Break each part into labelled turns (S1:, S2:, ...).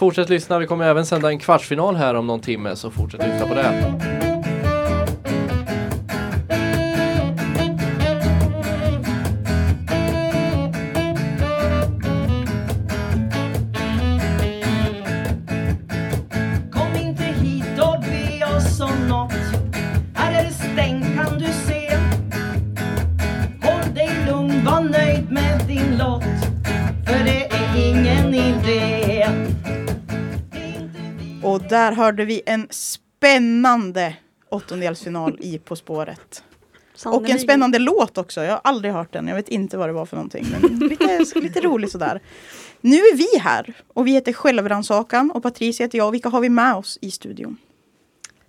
S1: Fortsätt lyssna, vi kommer även sända en kvartsfinal här om någon timme, så fortsätt lyssna på det.
S2: Kom inte hit och be oss om något. Här är det stängt kan du se. Håll dig lugn, var nöjd med din lott. För det är ingen idé.
S3: Och där hörde vi en spännande åttondelsfinal i På spåret. Och en spännande låt också. Jag har aldrig hört den. Jag vet inte vad det var för någonting. Men lite, lite rolig sådär. Nu är vi här och vi heter Självrannsakan och Patricia heter jag. Vilka har vi med oss i studion?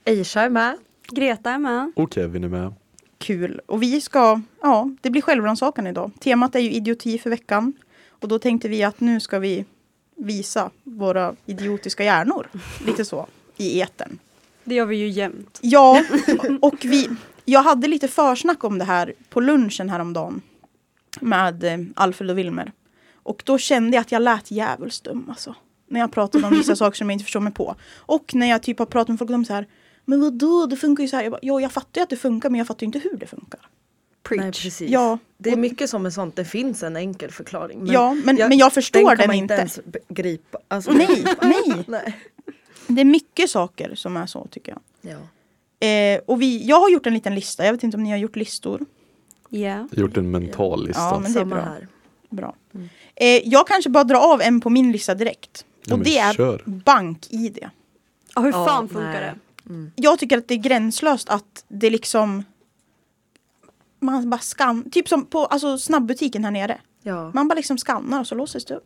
S4: Aisha är med.
S5: Greta är med.
S6: Och Kevin är med.
S3: Kul. Och vi ska, ja, det blir självrannsakan idag. Temat är ju idioti för veckan. Och då tänkte vi att nu ska vi visa våra idiotiska hjärnor. Lite så, i etern.
S5: Det gör vi ju jämt.
S3: Ja, och vi, jag hade lite försnack om det här på lunchen häromdagen med eh, Alfred och Wilmer. Och då kände jag att jag lät djävulskt dum alltså. När jag pratade om vissa saker som jag inte förstår mig på. Och när jag typ har pratat med folk om så här Men vadå, det funkar ju så här. Jag bara, ja, jag fattar ju att det funkar men jag fattar ju inte hur det funkar.
S4: Nej, precis.
S3: Ja,
S4: Det är mycket som är sånt, det finns en enkel förklaring.
S3: Ja, men- men jag förstår
S4: den, kan
S3: den
S4: man
S3: inte.
S4: ens be- gripa. Alltså,
S3: nej, nej.
S4: nej.
S3: Det är mycket saker som är så tycker jag.
S4: Ja.
S3: Eh, och vi, jag har gjort en liten lista, jag vet inte om ni har gjort listor.
S5: Ja.
S6: Jag har gjort en mental lista.
S3: Ja, men det är
S4: Samma
S3: bra.
S4: här.
S3: Bra. Eh, jag kanske bara drar av en på min lista direkt.
S6: Ja,
S3: och
S6: men
S3: det är
S6: kör.
S3: bank-id.
S5: Ja, hur
S4: Ja,
S5: fan funkar
S4: nej.
S5: det?
S3: Jag tycker att det är gränslöst att det liksom man bara skannar, typ som på alltså, snabbutiken här nere.
S4: Ja.
S3: Man bara liksom skannar och så låses det upp.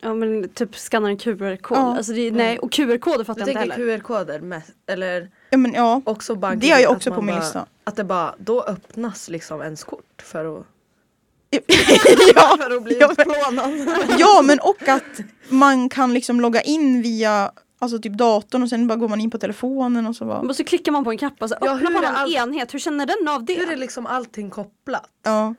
S5: Ja men typ skanna en QR-kod.
S3: Ja.
S5: Alltså det, nej, och QR-koder fattar
S4: Du
S5: jag inte
S4: tänker
S5: heller.
S4: QR-koder mest, eller
S3: Ja, men ja.
S4: också bank.
S3: Det har jag
S4: att
S3: också
S4: man
S3: på min
S4: bara,
S3: lista.
S4: Att det bara, då öppnas liksom ens kort för att,
S3: ja,
S4: för att bli
S3: ja, men,
S4: utplånad.
S3: ja, men och att man kan liksom logga in via alltså typ datorn och sen bara går man in på telefonen och så bara,
S5: Och så klickar man på en knapp och så
S4: Ja,
S5: öppnar
S4: hur
S5: man
S4: är
S5: en
S4: allt-
S5: enhet. Hur känner den av det?
S4: Hur är liksom allting kopplat?
S3: ja.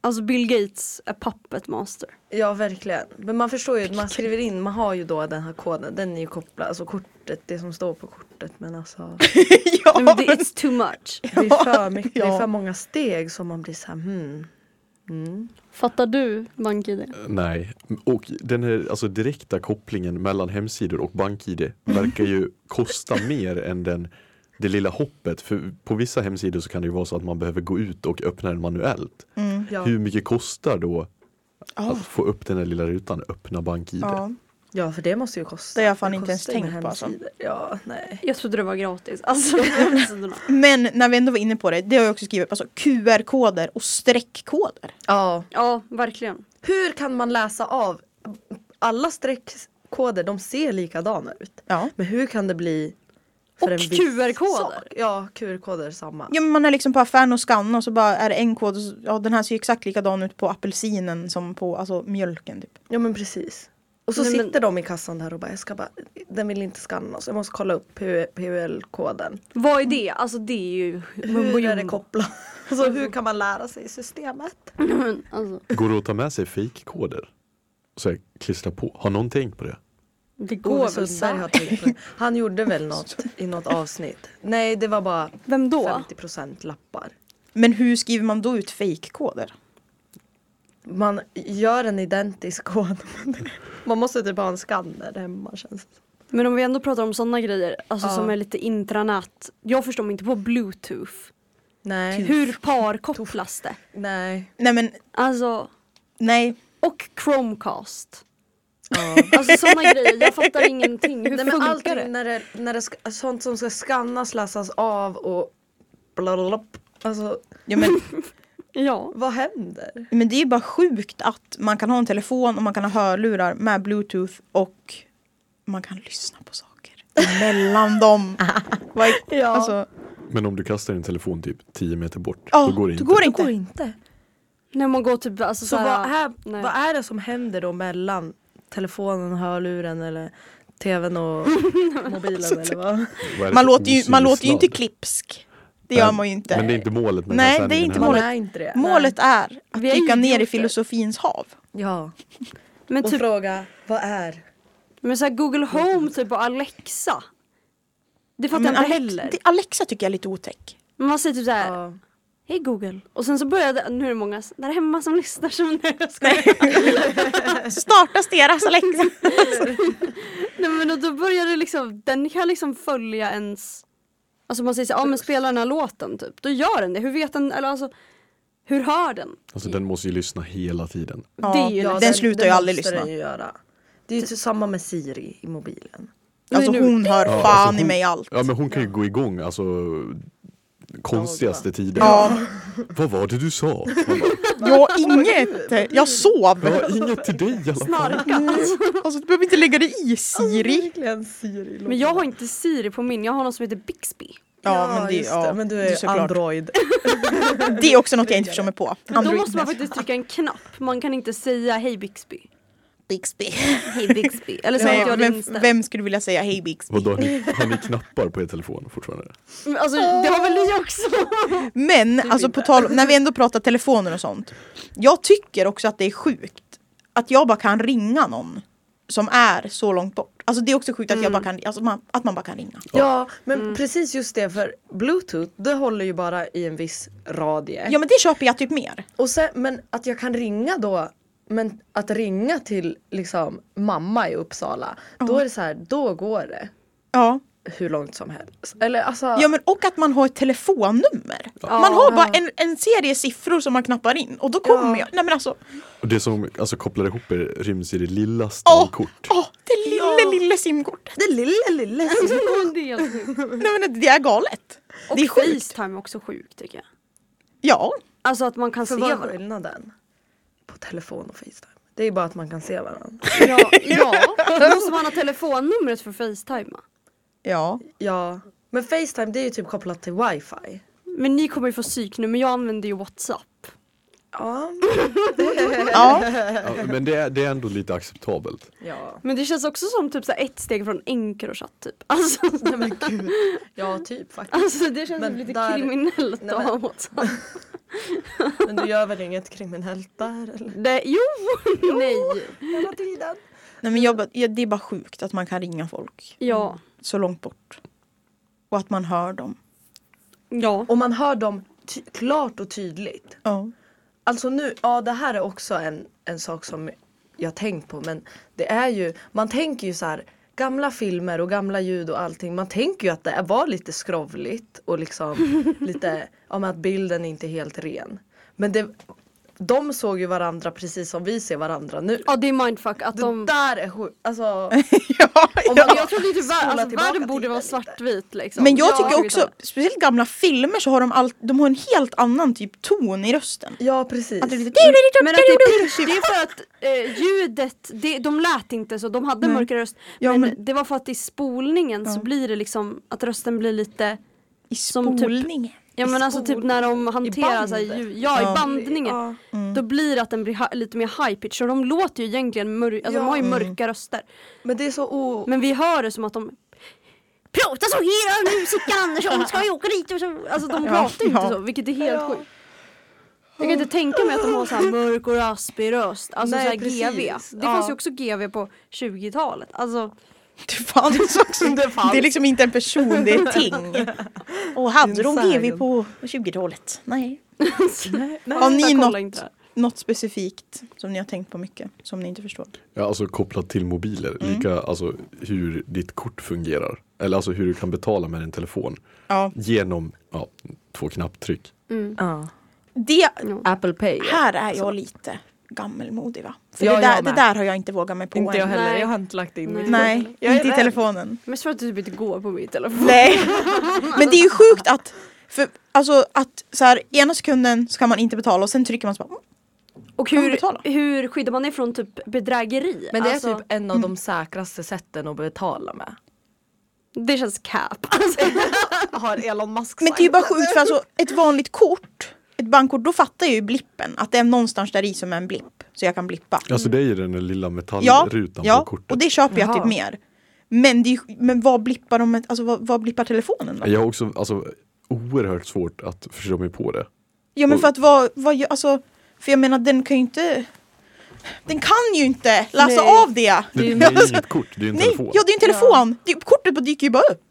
S5: Alltså Bill Gates är puppet master.
S4: Ja verkligen. Men man förstår ju, att man skriver in, man har ju då den här koden, den är ju kopplad, alltså kortet, det som står på kortet men alltså
S5: Nej,
S3: ja.
S5: men det, it's too much.
S4: det är för mycket, det
S3: Ja.
S4: är för många steg som man blir så här, hmm. Mm.
S5: Fattar du BankID?
S6: Nej. Och den här alltså, direkta kopplingen mellan hemsidor och BankID verkar ju kosta mer än den, det lilla hoppet. För på vissa hemsidor så kan det ju vara så att man behöver gå ut och öppna den manuellt.
S4: Ja,
S6: Hur mycket kostar då
S3: Ja.
S6: att få upp den här lilla rutan, öppna BankID?
S3: ja.
S4: ja för det måste ju kosta.
S3: Det har jag fan
S4: Det
S3: inte ens
S4: kostar ju med
S3: tänkt på, alltså.
S4: hemsidor. Ja, nej.
S5: Jag trodde det var gratis. Alltså de här sidorna.
S3: Men när vi ändå var inne på det, det har jag också skrivit, alltså QR-koder och streckkoder.
S4: Ja.
S5: Ja, verkligen.
S4: Hur kan man läsa av alla streckkoder, de ser likadana ut.
S3: Ja.
S4: Men hur kan det bli
S5: Och
S4: en viss
S5: QR-koder.
S4: sak? Ja, QR-koder samma.
S3: Ja, men man är liksom på affären och skannar och så bara är det en kod. Och så, ja, den här ser ju exakt likadan ut på apelsinen som på alltså, mjölken. Typ.
S4: Ja men precis. Och så
S5: Nej, men-
S4: sitter de i kassan där och bara, jag ska bara, den vill inte skanna så jag måste kolla upp PUL-koden.
S5: Vad är det? Alltså det är ju mumbo
S4: Hur är det
S5: jumbo.
S4: kopplat? Alltså hur kan man lära sig systemet?
S5: Alltså,
S6: Går det att ta med sig fejkkoder? Så jag klistrar på. Har någon tänkt på det?
S5: det
S4: Ove
S5: går väl
S4: Sundberg har
S5: sådär.
S4: tänkt på det. Han gjorde väl något i något avsnitt. Nej det var bara
S5: Vem då?
S4: 50% lappar.
S3: Men hur skriver man då ut fejkkoder?
S4: Man gör en identisk kod. Man måste typ ha en skanner hemma känns det som.
S5: Men om vi ändå pratar om sådana grejer, alltså
S4: Ja.
S5: som är lite intranät. Jag förstår mig inte på bluetooth.
S4: Nej.
S5: Hur par kopplas det?
S4: Nej.
S3: Nej, men
S5: Alltså,
S3: nej.
S5: och chromecast.
S4: Ja.
S5: Alltså sådana grejer, jag fattar ingenting. Hur
S4: Nej men
S5: funkar
S4: allting
S5: det?
S4: när det, när det ska, sånt som ska skannas, läsas av och blablabla. Alltså
S3: Ja, men,
S5: Ja.
S4: vad händer?
S3: men det är ju bara sjukt att man kan ha en telefon och man kan ha hörlurar med bluetooth och man kan lyssna på saker mellan dem. Vad är-
S4: Ja.
S3: alltså,
S6: Men om du kastar din telefon typ 10 meter bort,
S3: ja,
S6: då går det inte.
S3: inte.
S4: inte.
S5: När man går typ alltså,
S4: Så vad är,
S5: nej.
S4: vad är det som händer då mellan telefonen, hörluren eller tvn och mobilen eller vad?
S6: Vad är det
S3: Man
S6: för
S3: låter ju, man
S6: osynlig
S3: låter ju inte
S6: sladd?
S3: klipsk. Det gör man ju inte.
S6: Men det är inte målet med
S3: Nej,
S6: den här
S3: det är
S6: sändningen
S3: inte
S6: heller.
S4: Man
S3: målet.
S4: är
S3: Målet
S4: inte det.
S3: är att
S5: Vi är
S3: dyka ner i
S5: idioter.
S3: filosofins hav.
S4: Nej. Ja.
S5: Men
S4: Och Mm.
S5: typ,
S4: fråga, vad är
S5: Men så här Google Home typ och Alexa. Det fattar
S3: Men
S5: jag inte
S3: Alex-
S5: heller.
S3: det- Alexa tycker jag är lite otäck.
S5: Men man säger typ såhär,
S4: Ja.
S5: hej Google. Och sen så började, nu är det många där hemma som lyssnar som när jag skojar.
S3: Startas deras Alexa?
S5: Nej men och då börjar det liksom, den kan liksom följa ens Alltså man säger såhär, ja men spela den här låten typ. Då gör den det. Hur vet den, eller alltså hur hör den?
S6: Alltså den måste ju lyssna hela tiden.
S3: Ja,
S5: det är ju
S3: ja,
S5: nice.
S3: den slutar ju aldrig
S4: måste
S3: lyssna.
S4: Den ju göra. Det är ju samma med Siri i mobilen.
S3: Alltså
S5: nu-
S3: hon hör fan
S6: alltså, hon-
S3: i mig allt.
S6: Ja men hon kan ju gå igång alltså konstigaste tider.
S3: Ja,
S6: Vad var det du sa? Man bara,
S3: jag inget. Jag sov.
S6: Ja, inget till dig i alla fall.
S3: Alltså du behöver inte lägga dig i Siri.
S4: Verkligen Siri.
S5: Men jag har inte Siri på min, jag har någon som heter Bixby.
S3: Ja, men det,
S4: just
S3: ja,
S4: det. Men du
S3: det
S4: är
S3: såklart.
S4: Android.
S3: Det är också något jag inte förstår mig på.
S5: Då
S3: Android.
S5: måste man faktiskt trycka en knapp, man kan inte säga hej Bixby.
S3: Bixby.
S5: Hej Bixby. Eller så har
S3: Nej,
S5: inte jag det
S3: vem,
S5: inställt.
S3: vem skulle vilja säga hej Bixby?
S6: Vadå, har ni, har ni knappar på er telefon fortfarande?
S5: Men Alltså det har väl ni också?
S6: Mm.
S3: Men alltså på tal när vi ändå pratar telefoner och sånt. Jag tycker också att det är sjukt att jag bara kan ringa någon som är så långt bort. Alltså det är också sjukt att, jag bara
S5: Mm.
S3: kan, alltså, man, att man bara kan ringa.
S4: Ja, men
S3: Mm.
S4: precis just det för bluetooth det håller ju bara i en viss radie.
S3: Ja men det köper jag typ mer.
S4: Och sen, men att jag kan ringa då, men att ringa till liksom mamma i Uppsala, då är det så här, då går det
S3: Ja.
S4: hur långt som helst. Eller alltså,
S3: Ja men och att man har ett telefonnummer. Man har bara en, en serie siffror som man knappar in och då kommer jag. Nej men alltså,
S6: Och det som alltså, kopplar ihop er ryms i det lilla
S3: åh,
S6: stavkort.
S3: åh, det lilla lilla simkortet.
S4: det lilla lilla.
S5: det är helt sjukt.
S3: Nej men det är galet.
S5: Och
S3: det är sjukt.
S5: Facetime är också sjukt tycker jag.
S3: Ja.
S5: Alltså att man kan
S4: För
S5: se
S4: vad är
S5: varandra.
S4: skillnaden? På telefon och Facetime. Det är bara att man kan se varandra.
S5: Ja, ja. Då måste man ha telefonnumret för att facetima.
S3: Ja.
S4: Ja, men Facetime det är ju typ kopplat till wifi.
S5: Men ni kommer ju få psyk nu men jag använder ju Whatsapp.
S4: Ja.
S3: ja.
S6: Ja, men det är, det är ändå lite acceptabelt.
S4: Ja,
S5: Men det känns också som typ så här ett steg från Encrochat typ. Alltså,
S4: nej men gud. Ja, typ faktiskt.
S5: alltså det känns
S4: Men
S5: lite
S4: där-
S5: kriminellt
S4: Nej,
S5: att
S4: men-
S5: ha Whatsapp.
S4: Men du gör väl inget kriminellt där eller?
S5: Det, jo, nej.
S4: Hela tiden.
S3: Nej men jag, bara- ja, det är bara sjukt att man kan ringa folk
S5: Ja.
S3: så långt bort. Och att man hör dem.
S5: Ja.
S4: Och man hör dem ty- klart och tydligt.
S3: Ja.
S4: Alltså nu, ja det här är också en, en sak som jag tänkt på men det är ju, man tänker ju så här gamla filmer och gamla ljud och allting man tänker ju att det var lite skrovligt och liksom lite, ja men att bilden inte är helt ren. Men det, de såg ju varandra precis som vi ser varandra nu.
S5: Ja det är mindfuck att
S4: Det
S5: de...
S4: där är sjukt, alltså
S3: ja,
S4: Om
S3: ja.
S4: man-
S5: Jag trodde inte
S4: Spola
S5: vär- alltså,
S4: tillbaka
S5: världen borde
S4: tiden
S5: vara
S4: lite.
S5: svartvit liksom.
S3: Men jag
S5: Ja.
S3: tycker också, speciellt gamla filmer så har de, all, de har en helt annan typ ton i rösten.
S4: ja precis.
S3: Att det är lite...
S5: Men att det, är pitch, det är för att eh, ljudet, det, de lät inte så, de hade
S3: Nej.
S5: mörkare röst.
S3: Ja,
S5: men,
S3: men-
S5: det var för att i spolningen så
S3: Ja.
S5: blir det liksom att rösten blir lite
S3: I
S5: Som typ-
S3: spolningen.
S5: Ja men alltså typ när de hanterar
S4: bandet.
S5: så här, ljud, ja,
S3: Ja. Mm.
S5: i bandningen. Då blir det att den blir ha- lite mer high pitch och de låter ju egentligen mörk, alltså
S4: Ja.
S5: de har ju mörka
S3: Mm.
S5: röster.
S4: Men det är så o...
S5: Men vi hör det som att de Prata så här nu Sickan Andersson ska ju åka dit och så. Alltså de
S3: Ja,
S5: pratar ju inte
S3: ja.
S5: så vilket är helt sjukt. Jag kan inte tänka mig att de har så här mörk och raspig röst. Alltså
S4: Nej,
S5: så här
S4: precis.
S5: GV. Det
S4: Ja.
S5: fanns ju också GV på 20-talet. Alltså
S3: Det fanns också. Det, är liksom inte en person, det är ett ting. Och hade de
S4: Insagen.
S3: GV på 20-talet? Nej.
S4: Nej,
S3: Har ni
S5: jag kollar
S3: något,
S5: inte där.
S3: något specifikt som ni har tänkt på mycket? Som ni inte förstår?
S6: Ja, alltså kopplat till mobiler,
S3: Mm.
S6: lika alltså hur ditt kort fungerar. Eller alltså hur du kan betala med din telefon.
S3: Ja.
S6: Genom ja, två knapptryck.
S5: Mm.
S4: ja.
S3: Det
S4: Apple Pay.
S3: här är jag lite gammelmodig va? För
S4: Ja,
S3: det,
S4: jag
S3: där, det
S4: med.
S3: där har jag inte vågat mig på
S4: Inte jag
S3: än.
S4: heller,
S5: Nej.
S4: jag har inte lagt in
S5: Nej.
S4: mitt
S3: Nej,
S4: Jag är
S3: inte i
S4: rädd.
S3: telefonen.
S5: Mest för att du typ inte går på min telefon.
S3: Nej. Men det är ju sjukt att, för, alltså, att så här, ena sekunden så kan man inte betala och sen trycker man så bara,
S5: Och
S3: man
S5: hur,
S3: betala?
S5: hur skyddar man det från typ bedrägeri?
S4: Men det
S5: Alltså,
S4: är typ en av de säkraste sätten att betala med.
S5: det känns cap. Alltså,
S4: Har Elon Musk
S3: men det är ju bara sjukt för alltså, ett vanligt kort, ett bankkort, då fattar jag ju blippen. Att det är någonstans där i som är en blipp, så jag kan blippa.
S6: Alltså det är ju den där lilla
S3: Ja,
S6: metallrutan på
S3: ja
S6: kortet.
S3: och det köper jag
S4: Jaha.
S3: typ mer. Men, det är, ju- men vad blippar de, med- alltså vad, vad blippar telefonen då?
S6: Jag har också alltså, oerhört svårt att förstå mig på det.
S3: Ja men för att vad, vad gör- alltså, för jag menar den kan ju inte Den kan ju inte läsa
S5: Nej.
S3: av det!
S6: Det, det
S3: Alltså,
S6: är ju inget kort, det är ju en
S3: Nej,
S6: telefon.
S3: ja det är ju en telefon! Det- Kortet bara dyker ju bara upp!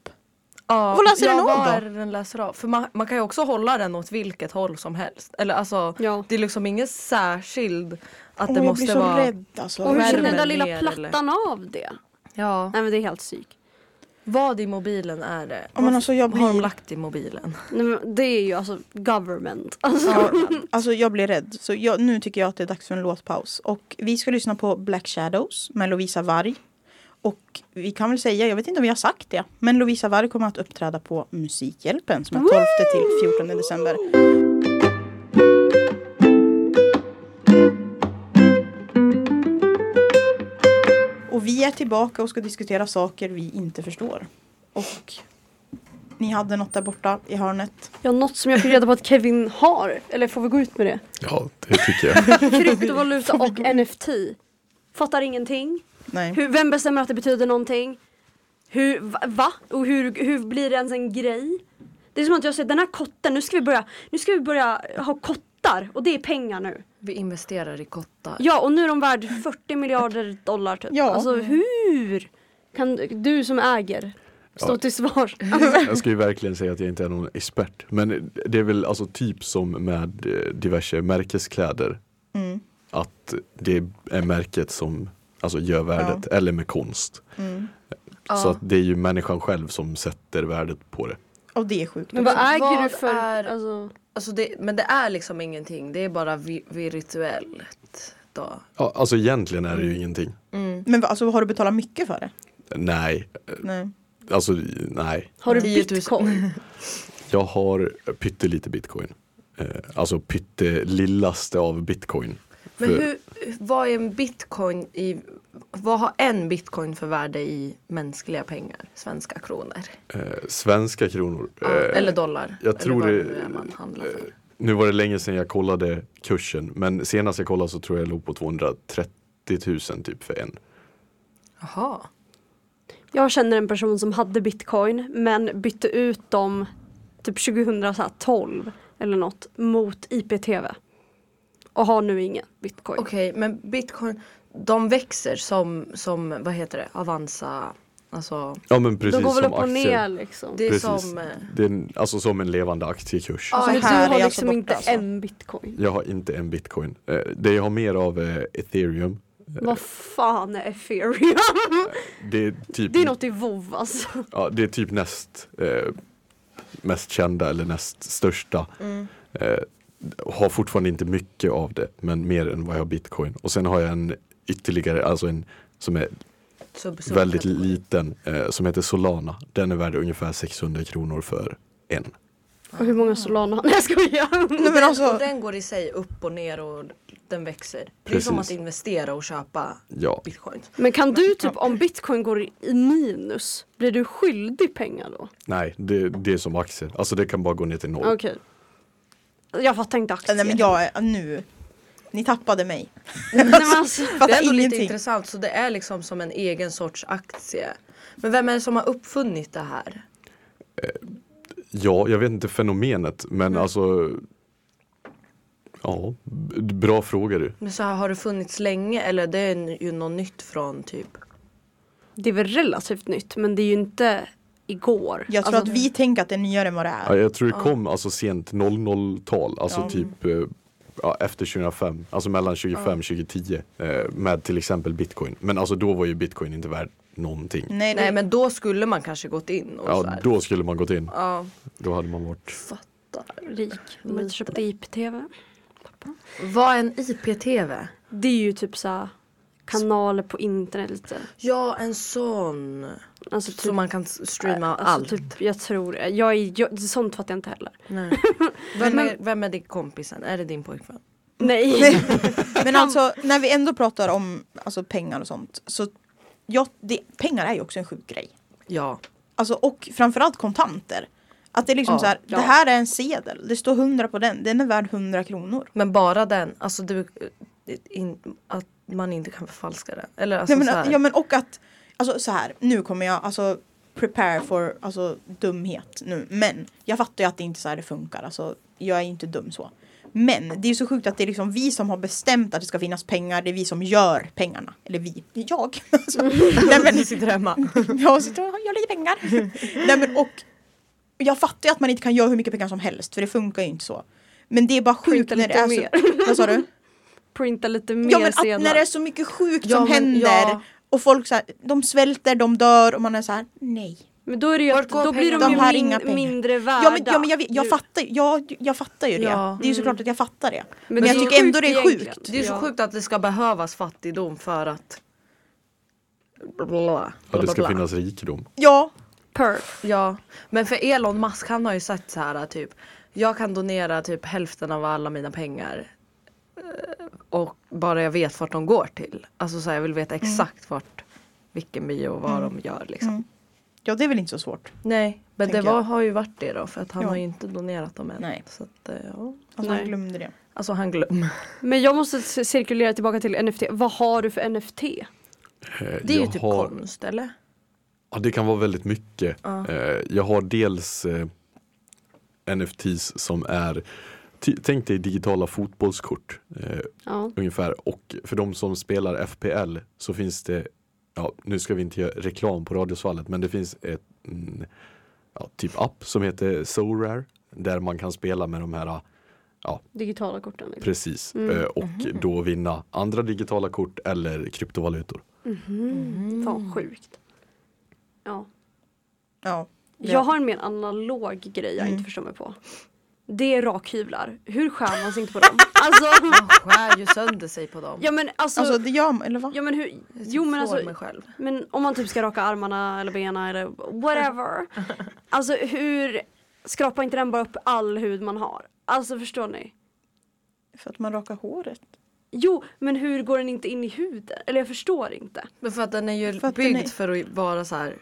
S4: Ja,
S3: Vad läser
S4: ja,
S3: den av
S4: vad
S3: då?
S4: är det den läser av? För man, man kan ju också hålla den åt vilket håll som helst. Eller alltså,
S5: Ja.
S4: det är liksom ingen särskild att
S3: Åh,
S4: det
S3: jag
S4: måste
S3: blir så
S4: vara...
S3: rädd alltså.
S5: Och hur känner den
S4: Värmen
S5: där lilla
S4: ner,
S5: plattan av det?
S4: Ja.
S5: Nej men det är helt psyk.
S4: Vad i mobilen är det?
S3: Ja, men alltså, jag
S4: Vad har de
S3: blir-
S4: lagt i mobilen?
S5: Nej, men det är ju alltså government. Alltså,
S3: Ja, alltså jag blir rädd. Så jag, nu tycker jag att det är dags för en låtpaus. Och vi ska lyssna på Black Shadows med Lovisa Varg. Och vi kan väl säga, jag vet inte om vi har sagt det, men Lovisa Varg kommer att uppträda på Musikhjälpen som är 12 till 14 december. Och vi är tillbaka och ska diskutera saker vi inte förstår. Och ni hade något där borta i hörnet.
S5: ja, något som jag fick reda på att Kevin har. Eller får vi gå ut med det?
S6: Ja, det tycker jag.
S5: Kryptovaluta och NFT. Fattar ingenting.
S3: Nej.
S5: Hur, vem bestämmer att det betyder någonting? Hur, va- va? Och hur, hur blir det ens en grej? Det är som att jag säger den här kotten, nu ska vi börja, nu ska vi börja ha kottar och det är pengar nu.
S4: Vi investerar i kottar.
S5: Ja och nu är de värd 40 miljarder dollar typ.
S3: Ja.
S5: Alltså hur kan du- du som äger stå
S6: Ja.
S5: till svars?
S6: Jag ska ju verkligen säga att jag inte är någon expert. Men det är väl alltså typ som med eh, diverse märkeskläder.
S3: Mm.
S6: Att det är märket som alltså, gör värdet, eller med konst.
S3: Mm.
S6: Så att det är ju människan själv som sätter värdet på det.
S3: Och det är sjukt.
S5: Men vad
S4: Alltså,
S5: äger
S4: vad
S5: du för...
S4: är-
S5: Alltså,
S4: Alltså det, men det är liksom ingenting, det är bara vi, virtuellt. Då.
S6: Ja, alltså egentligen är det ju ingenting.
S3: Men vad- alltså, har du betalat mycket för det?
S6: Nej,
S3: Nej.
S6: alltså nej.
S5: har du
S4: 10 000.
S5: bitcoin?
S6: Jag har pyttelite bitcoin. Eh, alltså pyttelillaste av bitcoin.
S4: Men
S6: För-
S4: hur, vad är en bitcoin i, vad har en bitcoin för värde i mänskliga pengar? Svenska kronor?
S6: Eh, svenska kronor.
S4: Ja,
S6: Eh,
S4: eller dollar?
S6: jag
S4: eller
S6: tror
S4: vad
S6: det- eh,
S4: nu är man handlar för.
S6: Nu var det länge sedan jag kollade kursen men senast jag kollade så tror jag jag låg på 230 000 typ för en.
S4: Jaha.
S5: Jag känner en person som hade bitcoin men bytte ut dem typ 2012 eller något mot IPTV. Och har nu ingen bitcoin.
S4: Okej, men bitcoin, de växer som, som vad heter det, Avanza, alltså
S6: Ja men precis
S5: De går väl
S6: som
S5: upp och ner
S6: aktier.
S5: liksom.
S4: det är
S6: Precis.
S4: som eh,
S6: Det är en, alltså som en levande aktiekurs.
S4: Ja.
S5: alltså,
S4: det
S5: du
S3: här är
S5: har
S3: alltså
S5: liksom
S3: borta,
S5: inte
S3: alltså.
S5: en bitcoin.
S6: Jag har inte en bitcoin. Eh, det jag har mer av eh, ethereum.
S5: Vad fan är ethereum?
S6: Det är typ,
S5: det är något i vov alltså.
S6: ja, det är typ näst eh, mest kända eller näst största.
S4: Mm.
S6: Eh, har fortfarande inte mycket av det men mer än vad jag har bitcoin. Och sen har jag en ytterligare, alltså en som är
S4: sub, sub
S6: väldigt liten eh, som heter Solana. Den är värd ungefär 600 kronor för en.
S5: Och hur många Solana har Nej jag skojar.
S3: Nej, men alltså,
S4: Och den går i sig upp och ner och den växer. Det är
S6: Precis.
S4: som att investera och köpa
S6: Ja,
S4: bitcoin.
S5: Men kan du typ om bitcoin går i minus, blir du skyldig pengar då?
S6: nej, det, det är som aktier. Alltså det kan bara gå ner till noll.
S5: Okej. Jag fattar inte aktier.
S3: nej men jag är, nu. Ni tappade mig.
S5: Nej, men alltså,
S4: Det är
S3: Fattar
S4: ändå lite
S3: ingenting.
S4: intressant så det är liksom som en egen sorts aktie. Men vem är det som har uppfunnit det här?
S6: Ja, jag vet inte fenomenet, men alltså Ja, b- bra fråga du.
S4: Men så här, har det funnits länge eller det är n- ju något nytt från typ
S5: det är väl relativt nytt men det är ju inte igår.
S3: Jag tror
S5: Alltså,
S3: att vi tänker att det är nyare än vad det
S6: Ja,
S3: är.
S6: jag tror det kom alltså sent 00-tal, alltså
S3: Ja.
S6: typ eh, ja, efter 2005, alltså mellan 2005 och 2010 eh, med till exempel bitcoin. Men alltså då var ju bitcoin inte värd någonting.
S3: Nej, det,
S4: Nej men då skulle man kanske gått in och Mm. så
S6: Ja,
S4: här.
S6: då skulle man gått in.
S4: Ja,
S6: Då hade man varit
S4: fattar.
S5: Rik. Man inte köpte IPTV.
S4: Vad är en IPTV?
S5: Det är ju typ så här kanaler på internet lite.
S4: Ja, en sån.
S5: Alltså typ,
S4: Så man kan s- streama
S5: alltså,
S4: allt.
S5: Typ, jag tror jag är, jag, Sånt fattar jag inte heller.
S4: Nej. Vem, är, vem är din kompisen? Är det din pojkvän?
S5: Nej.
S3: men alltså när vi ändå pratar om alltså, pengar och sånt. Så ja, det, pengar är ju också en sjuk grej.
S4: Ja.
S3: Alltså, och framförallt kontanter. Att det är liksom
S4: Ja,
S3: så här,
S5: ja.
S3: det här är en sedel. Det står 100 på den. Den är värd 100 kronor.
S4: Men bara den, alltså du, in, att man inte kan förfalska den. Eller alltså
S3: Nej,
S4: så
S3: men,
S4: här.
S3: ja men och att, alltså så här, nu kommer jag alltså prepare for alltså, dumhet nu. Men jag fattar ju att det inte är så här det funkar. Alltså, jag är inte dum så. Men det är ju så sjukt att det är liksom vi som har bestämt att det ska finnas pengar. Det är vi som gör pengarna. Eller vi. Det är Jag. Alltså, nej, men,
S4: Vi sitter hemma.
S3: jag sitter och gör lite pengar. Nej, men, och jag fattar ju att man inte kan göra hur mycket pengar som helst. För det funkar ju inte så. Men det är bara sjukt
S5: Printa
S3: när det
S5: lite
S3: är så. Vad sa du?
S5: Printa lite mer
S3: Ja men att,
S5: sedlar.
S3: när det är så mycket sjukt
S4: Ja,
S3: som
S4: men-
S3: händer
S4: ja.
S3: och folk så här, de svälter, de dör och man är så här, nej.
S5: Men då, är det ju
S4: Vart
S5: att,
S4: går
S5: då blir de,
S4: pengarna?
S5: ju
S3: De har
S5: min,
S3: inga pengar.
S5: mindre värda.
S3: Ja men, ja, men jag, vet- jag,
S5: Nu.
S3: fattar, jag, jag fattar ju det.
S4: Ja.
S3: Det är ju såklart att jag fattar det.
S5: Men
S3: Men,
S5: det
S3: jag
S5: är
S3: tycker ändå det är
S5: sjukt
S3: sjukt.
S5: egentligen.
S4: Det är så
S5: Ja.
S4: sjukt att det ska behövas fattigdom för att bla, bla, bla,
S6: Att det
S4: bla,
S6: ska
S4: bla.
S6: finnas rikedom.
S3: Ja,
S5: Per.
S4: Ja, men för Elon Musk han har ju sagt så här typ jag kan donera typ hälften av alla mina pengar eh, och bara jag vet vart de går till. Alltså så här, jag vill veta exakt vart vilken by och vad de gör liksom.
S3: Mm. ja det är väl inte så svårt.
S4: Nej, men
S3: Tänker
S4: det var,
S3: jag.
S4: har ju varit det då för att han
S3: Ja.
S4: har ju inte donerat dem än.
S3: Nej.
S4: Så att, eh, ja.
S3: Alltså han
S5: Nej.
S3: glömde det.
S4: Alltså han glömmer.
S5: Men jag måste c- cirkulera tillbaka till NFT. Vad har du för NFT?
S6: Eh,
S4: Det är ju
S6: jag
S4: typ
S6: har-
S4: konst eller?
S6: Ja, det kan vara väldigt mycket. Eh, Jag har dels eh, NFTs som är ty- Tänk dig digitala fotbollskort eh,
S5: Ja.
S6: ungefär och för de som spelar FPL så finns det ja, nu ska vi inte göra reklam på Radiosvallet men det finns ett mm, ja, typ app som heter SoRare där man kan spela med de här
S5: Digitala korten. liksom.
S6: precis eh,
S5: Mm-hmm.
S6: och då vinna andra digitala kort eller kryptovalutor.
S5: Fan sjukt. Ja.
S3: Ja. Ja.
S5: Jag har en mer analog grej jag
S3: Mm.
S5: inte förstår mig på. Det är rakhyvlar. Hur skär man sig inte på dem? Alltså,
S4: Han skär ju sönder sig på dem.
S5: ja men alltså.
S3: Alltså det gör man, eller vad?
S5: ja, men hur, jo men
S4: Får
S5: alltså.
S4: mig själv.
S5: Men om man typ ska raka armarna eller benen eller whatever. Alltså hur skrapar inte den bara upp all hud man har? Alltså förstår ni?
S3: För att man rakar håret.
S5: Jo, men hur går den inte in i huden? Eller jag förstår inte.
S4: Men för att den är ju
S3: För att den
S4: byggd
S3: är-
S4: för att vara så här.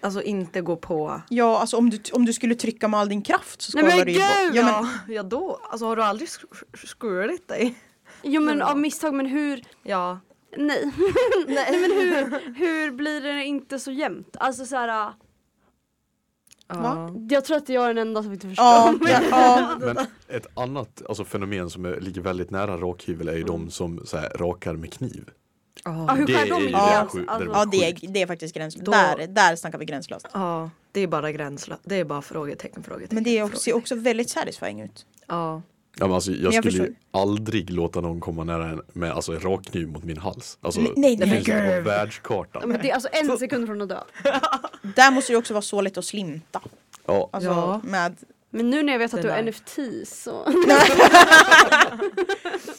S4: Alltså inte gå på.
S3: Ja alltså om du, om du skulle trycka med all din kraft så
S5: Nej, men
S3: skalar det ju bort.
S5: gud!
S3: Ja, men,
S4: Ja, ja då. Alltså har du aldrig sk- skurit dig?
S5: Jo men av misstag, men hur?
S4: Ja.
S5: Nej. Nej men hur, hur blir det inte så jämnt? Alltså så här,
S3: Va?
S5: jag tror att jag är den enda som inte förstår.
S3: ja, ja, ja.
S6: Men ett annat alltså, fenomen som är, ligger väldigt nära rakhyvel är ju de som så här, rakar med kniv.
S4: Ah,
S5: Ja, Mm. hur
S6: Det
S5: skär
S6: är
S5: de
S6: ju
S3: det
S5: inte alls?
S6: sju-
S5: Alltså,
S6: där
S3: ja det, är, det är faktiskt gränslöst.
S4: Då-
S3: Där, där snackar vi gränslöst.
S4: Ja, det är bara gränslöst. Det är bara frågetecken, frågetecken.
S3: Men det är också, ser
S4: frågetecken.
S3: också väldigt satisfying ut.
S4: Ja.
S6: Ja, men alltså, jag,
S3: jag
S6: skulle ju
S3: förstår.
S6: aldrig låta någon komma nära en med alltså, en rak kniv mot min hals. Alltså,
S3: Nej, nej,
S6: det
S3: nej,
S6: finns ju
S4: nej.
S6: på världskartan.
S5: ja, men det är alltså en sekund från att dö.
S3: Där måste det också vara så lätt att slinta.
S6: Ja,
S3: Alltså
S4: Ja.
S3: med
S5: Men nu när jag vet att
S4: Det
S5: du är
S4: där.
S5: NFT så.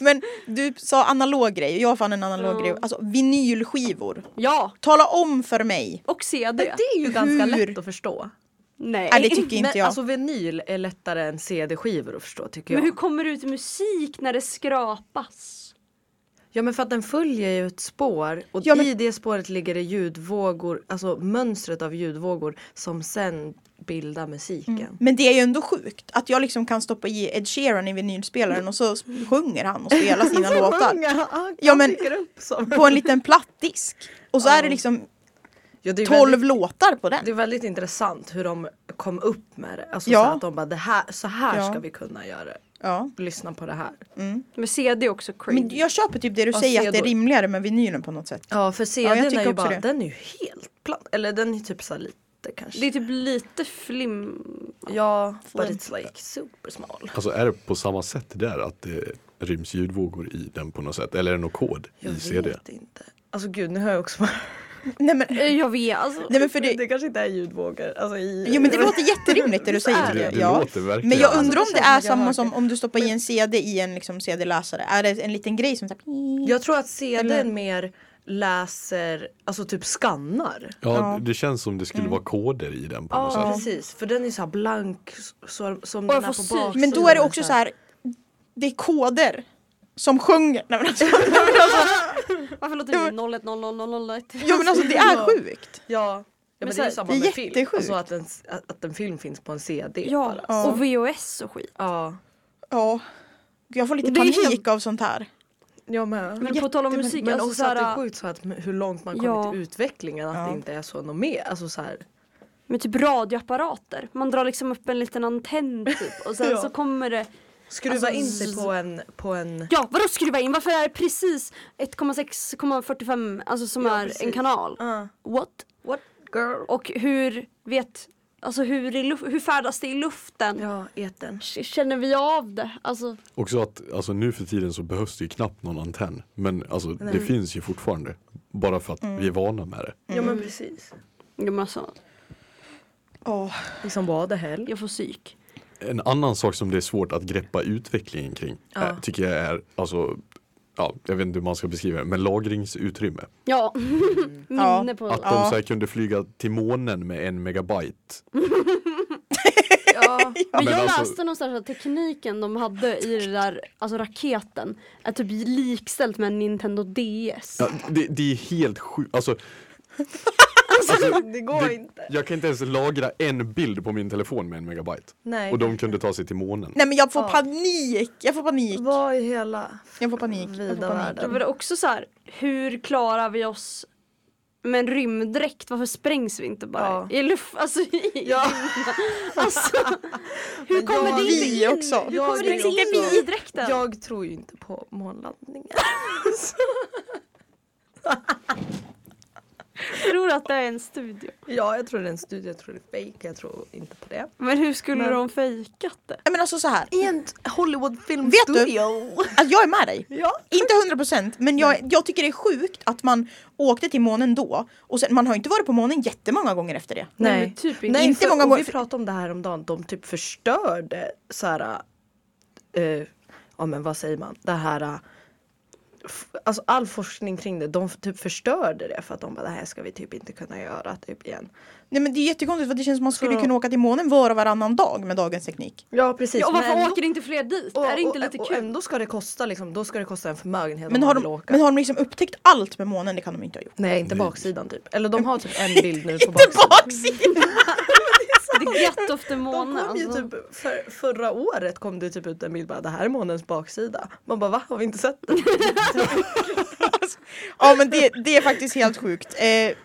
S3: Men du sa analog grej och jag fann en analog
S5: Ja.
S3: grej. Alltså vinylskivor.
S5: Ja,
S3: Tala om för mig.
S5: och se
S4: Men
S5: det.
S4: det är ju ganska
S3: Hur?
S4: lätt att förstå.
S5: Nej.
S3: Nej, det tycker inte
S4: Men
S3: jag.
S4: alltså vinyl är lättare än CD-skivor att förstå tycker jag.
S5: Men hur kommer det ut musik när det skrapas?
S4: Ja men för att den följer ju ett spår och
S3: Ja, men-
S4: i det spåret ligger det ljudvågor, alltså mönstret av ljudvågor som sen bildar musiken.
S3: Men det är ju ändå sjukt att jag liksom kan stoppa i Ed Sheeran i vinylspelaren och så sjunger han och spelar sina låtar.
S4: Ja,
S3: Ja, men-
S4: dyker upp som.
S3: På en liten plattdisk. Och så är det liksom
S4: Ja, det är väldigt-
S3: 12 låtar på den.
S4: Det är väldigt intressant hur de kom upp med det. Alltså
S3: Ja.
S4: så att de bara, det här, så här
S3: Ja.
S4: ska vi kunna göra det.
S3: Ja.
S4: Lyssna på det här.
S5: Men CD är också cringe.
S3: Men jag köper typ det du
S4: Ja,
S3: säger
S4: se
S3: att det är
S4: då.
S3: rimligare med vinylen på något sätt.
S4: Ja för CDn
S3: jag
S4: är
S3: tycker
S4: ju
S3: också
S4: bara,
S3: det.
S4: den är ju helt platt. Eller den är typ så här lite kanske.
S5: Det är typ lite flim...
S4: ja, but
S3: Flim.
S4: it's like super small.
S6: alltså är det på samma sätt där att det ryms ljudvågor i den på något sätt? Eller är det någon kod
S4: Jag
S6: i CD?
S4: vet inte. Alltså gud nu har jag också bara,
S3: Nej men,
S5: Eh, Jag vet alltså.
S3: nej, men för
S4: det,
S3: det,
S4: kanske inte är ljudvågor. Alltså i...
S3: jo men det låter jätterimligt det du säger.
S4: är
S6: Det,
S3: tycker
S6: det
S3: jag. Ja.
S6: låter verkligen.
S3: Men jag undrar om det är
S4: Alltså, jag
S3: samma
S4: hör
S3: som om du stoppar i en CD i en liksom CD-läsare. Är det en liten grej som så här...
S4: Jag tror att CDn
S3: Eller-
S4: mer läser, alltså typ skannar.
S6: ja,
S3: Ja.
S6: det känns som det skulle vara koder i den på
S4: Ja
S6: något sätt.
S4: precis, för den är så här blank så, som
S5: jag
S4: den är
S5: får
S4: på
S5: syn.
S4: baksidan.
S3: Men då är det också så här, det är koder som sjunger. Nej, men alltså, nej, men alltså,
S5: Varför låter det 010001?
S3: jo men alltså det är sjukt.
S4: Ja. Ja, men
S5: så
S4: det är
S5: här,
S4: ju samma
S3: det är
S4: med film.
S3: jättesjukt.
S4: Alltså att en, att att en film finns på en CD. bara.
S5: Ja, och VHS och skit.
S4: ja.
S3: Ja. Jag får lite
S5: Det är
S3: panik
S5: helt-
S3: av sånt här.
S4: Jag med.
S5: Men på tal om musik,
S4: Men
S5: alltså
S4: också
S5: så
S4: att det är
S5: här,
S4: sjukt så äh, att m- hur långt man
S5: Ja.
S4: kommit i utvecklingen att
S3: Ja.
S4: det inte är så något mer. Alltså så här,
S5: med typ radioapparater. Man drar liksom upp en liten antenn typ och sen
S4: Ja.
S5: så kommer det
S4: Skruva
S5: Alltså,
S4: in sig på en, på en
S5: Ja, vadå skruva in? Varför är det precis 1,6,45 alltså som
S4: Ja,
S5: är
S4: precis.
S5: en kanal?
S4: Ah,
S5: What?
S4: what girl?
S5: Och hur vet, alltså hur, i luf- hur färdas det i luften?
S4: Ja, eten.
S5: K- Känner vi av det? Alltså,
S6: Också att alltså, nu för tiden så behövs det ju knappt någon antenn. Men alltså, det finns ju fortfarande. Bara för att vi är vana med det.
S4: Ja men precis.
S5: jo, men alltså,
S3: Åh.
S4: Liksom vadehäll.
S5: jag får psyk.
S6: En annan sak som det är svårt att greppa utvecklingen kring
S4: Ja.
S6: eh, tycker jag är, alltså, ja, jag vet inte hur man ska beskriva det, men lagringsutrymme.
S5: Ja,
S4: Mm.
S5: minne
S3: Ja.
S5: på
S6: Att de
S3: Ja.
S6: så här kunde flyga till månen med en megabyte.
S4: Ja.
S5: Men,
S6: Men
S5: jag
S6: alltså-
S5: läste någonstans att tekniken de hade i det där, alltså raketen, är typ likställt med en Nintendo DS.
S6: Ja, det, det är helt sjukt. Alltså,
S4: det går
S6: det-
S4: inte.
S6: jag kan inte ens lagra en bild på min telefon med en megabyte.
S4: Nej.
S6: Och de kunde ta sig till månen.
S3: Nej men jag får
S4: Ja.
S3: panik! Jag får panik!
S4: Vad i hela...
S3: Jag får panik. Jag
S4: Vida
S3: får panik.
S5: Det
S4: världen.
S5: var det också så här, hur klarar vi oss med en rymddräkt? Varför sprängs vi inte bara
S4: Ja.
S5: i luft? Alltså, i,
S4: Ja.
S5: alltså hur
S4: Men
S5: kommer
S4: jag-
S5: det inte
S3: vi
S5: in?
S3: också.
S5: Hur
S4: Jag
S5: kommer det inte
S4: tror
S5: in
S4: också-
S5: i dräkten?
S4: Jag tror ju inte på månlandningen.
S5: Jag tror att det är en studio.
S4: Ja, jag tror det är en studie, jag tror det är fake, jag tror inte på det.
S5: Men hur skulle de fejkat det?
S3: Nej men alltså så här.
S4: I en
S3: Vet du?
S4: Hollywoodfilmstudio!
S3: Alltså, jag är med dig.
S4: Ja.
S3: Inte 100 procent, men jag, jag tycker det är sjukt att man åkte till månen då och sen, man har ju inte varit på månen jättemånga gånger efter det.
S5: Nej, men typ inte.
S4: Nej
S3: Inte
S4: för,
S3: många
S4: och
S3: gånger-
S4: vi pratade om det här om dagen. de typ förstörde så här, eh, ja men vad säger man, det här eh, f- Alltså all forskning kring det, de typ förstörde det för att de bara det här ska vi typ inte kunna göra typ igen.
S3: Nej men det är jättekonstigt för det känns som man skulle
S4: Så-
S3: kunna åka till månen var och varannan dag med dagens teknik.
S4: Ja precis.
S5: Ja, och varför
S4: men-
S5: åker inte fler dit?
S4: och-
S5: är det inte
S4: och-
S5: lite
S4: och
S5: kul?
S4: ändå ska det kosta liksom, då ska det kosta en förmögenhet
S3: Men
S4: om
S3: har,
S4: man vill
S3: de,
S4: åka.
S3: men har de liksom upptäckt allt med månen? Det kan de inte ha gjort.
S4: Nej inte baksidan typ. Eller de har typ en bild nu på
S3: Inte
S4: baksidan.
S3: baksidan!
S5: The get of the
S4: De
S5: månen.
S4: kom ju
S5: Alltså.
S4: typ, för, förra året kom det typ ut en bild bara det här är månens baksida. Man bara va har vi inte sett den?
S3: Ja men det, det är faktiskt helt sjukt. Eh,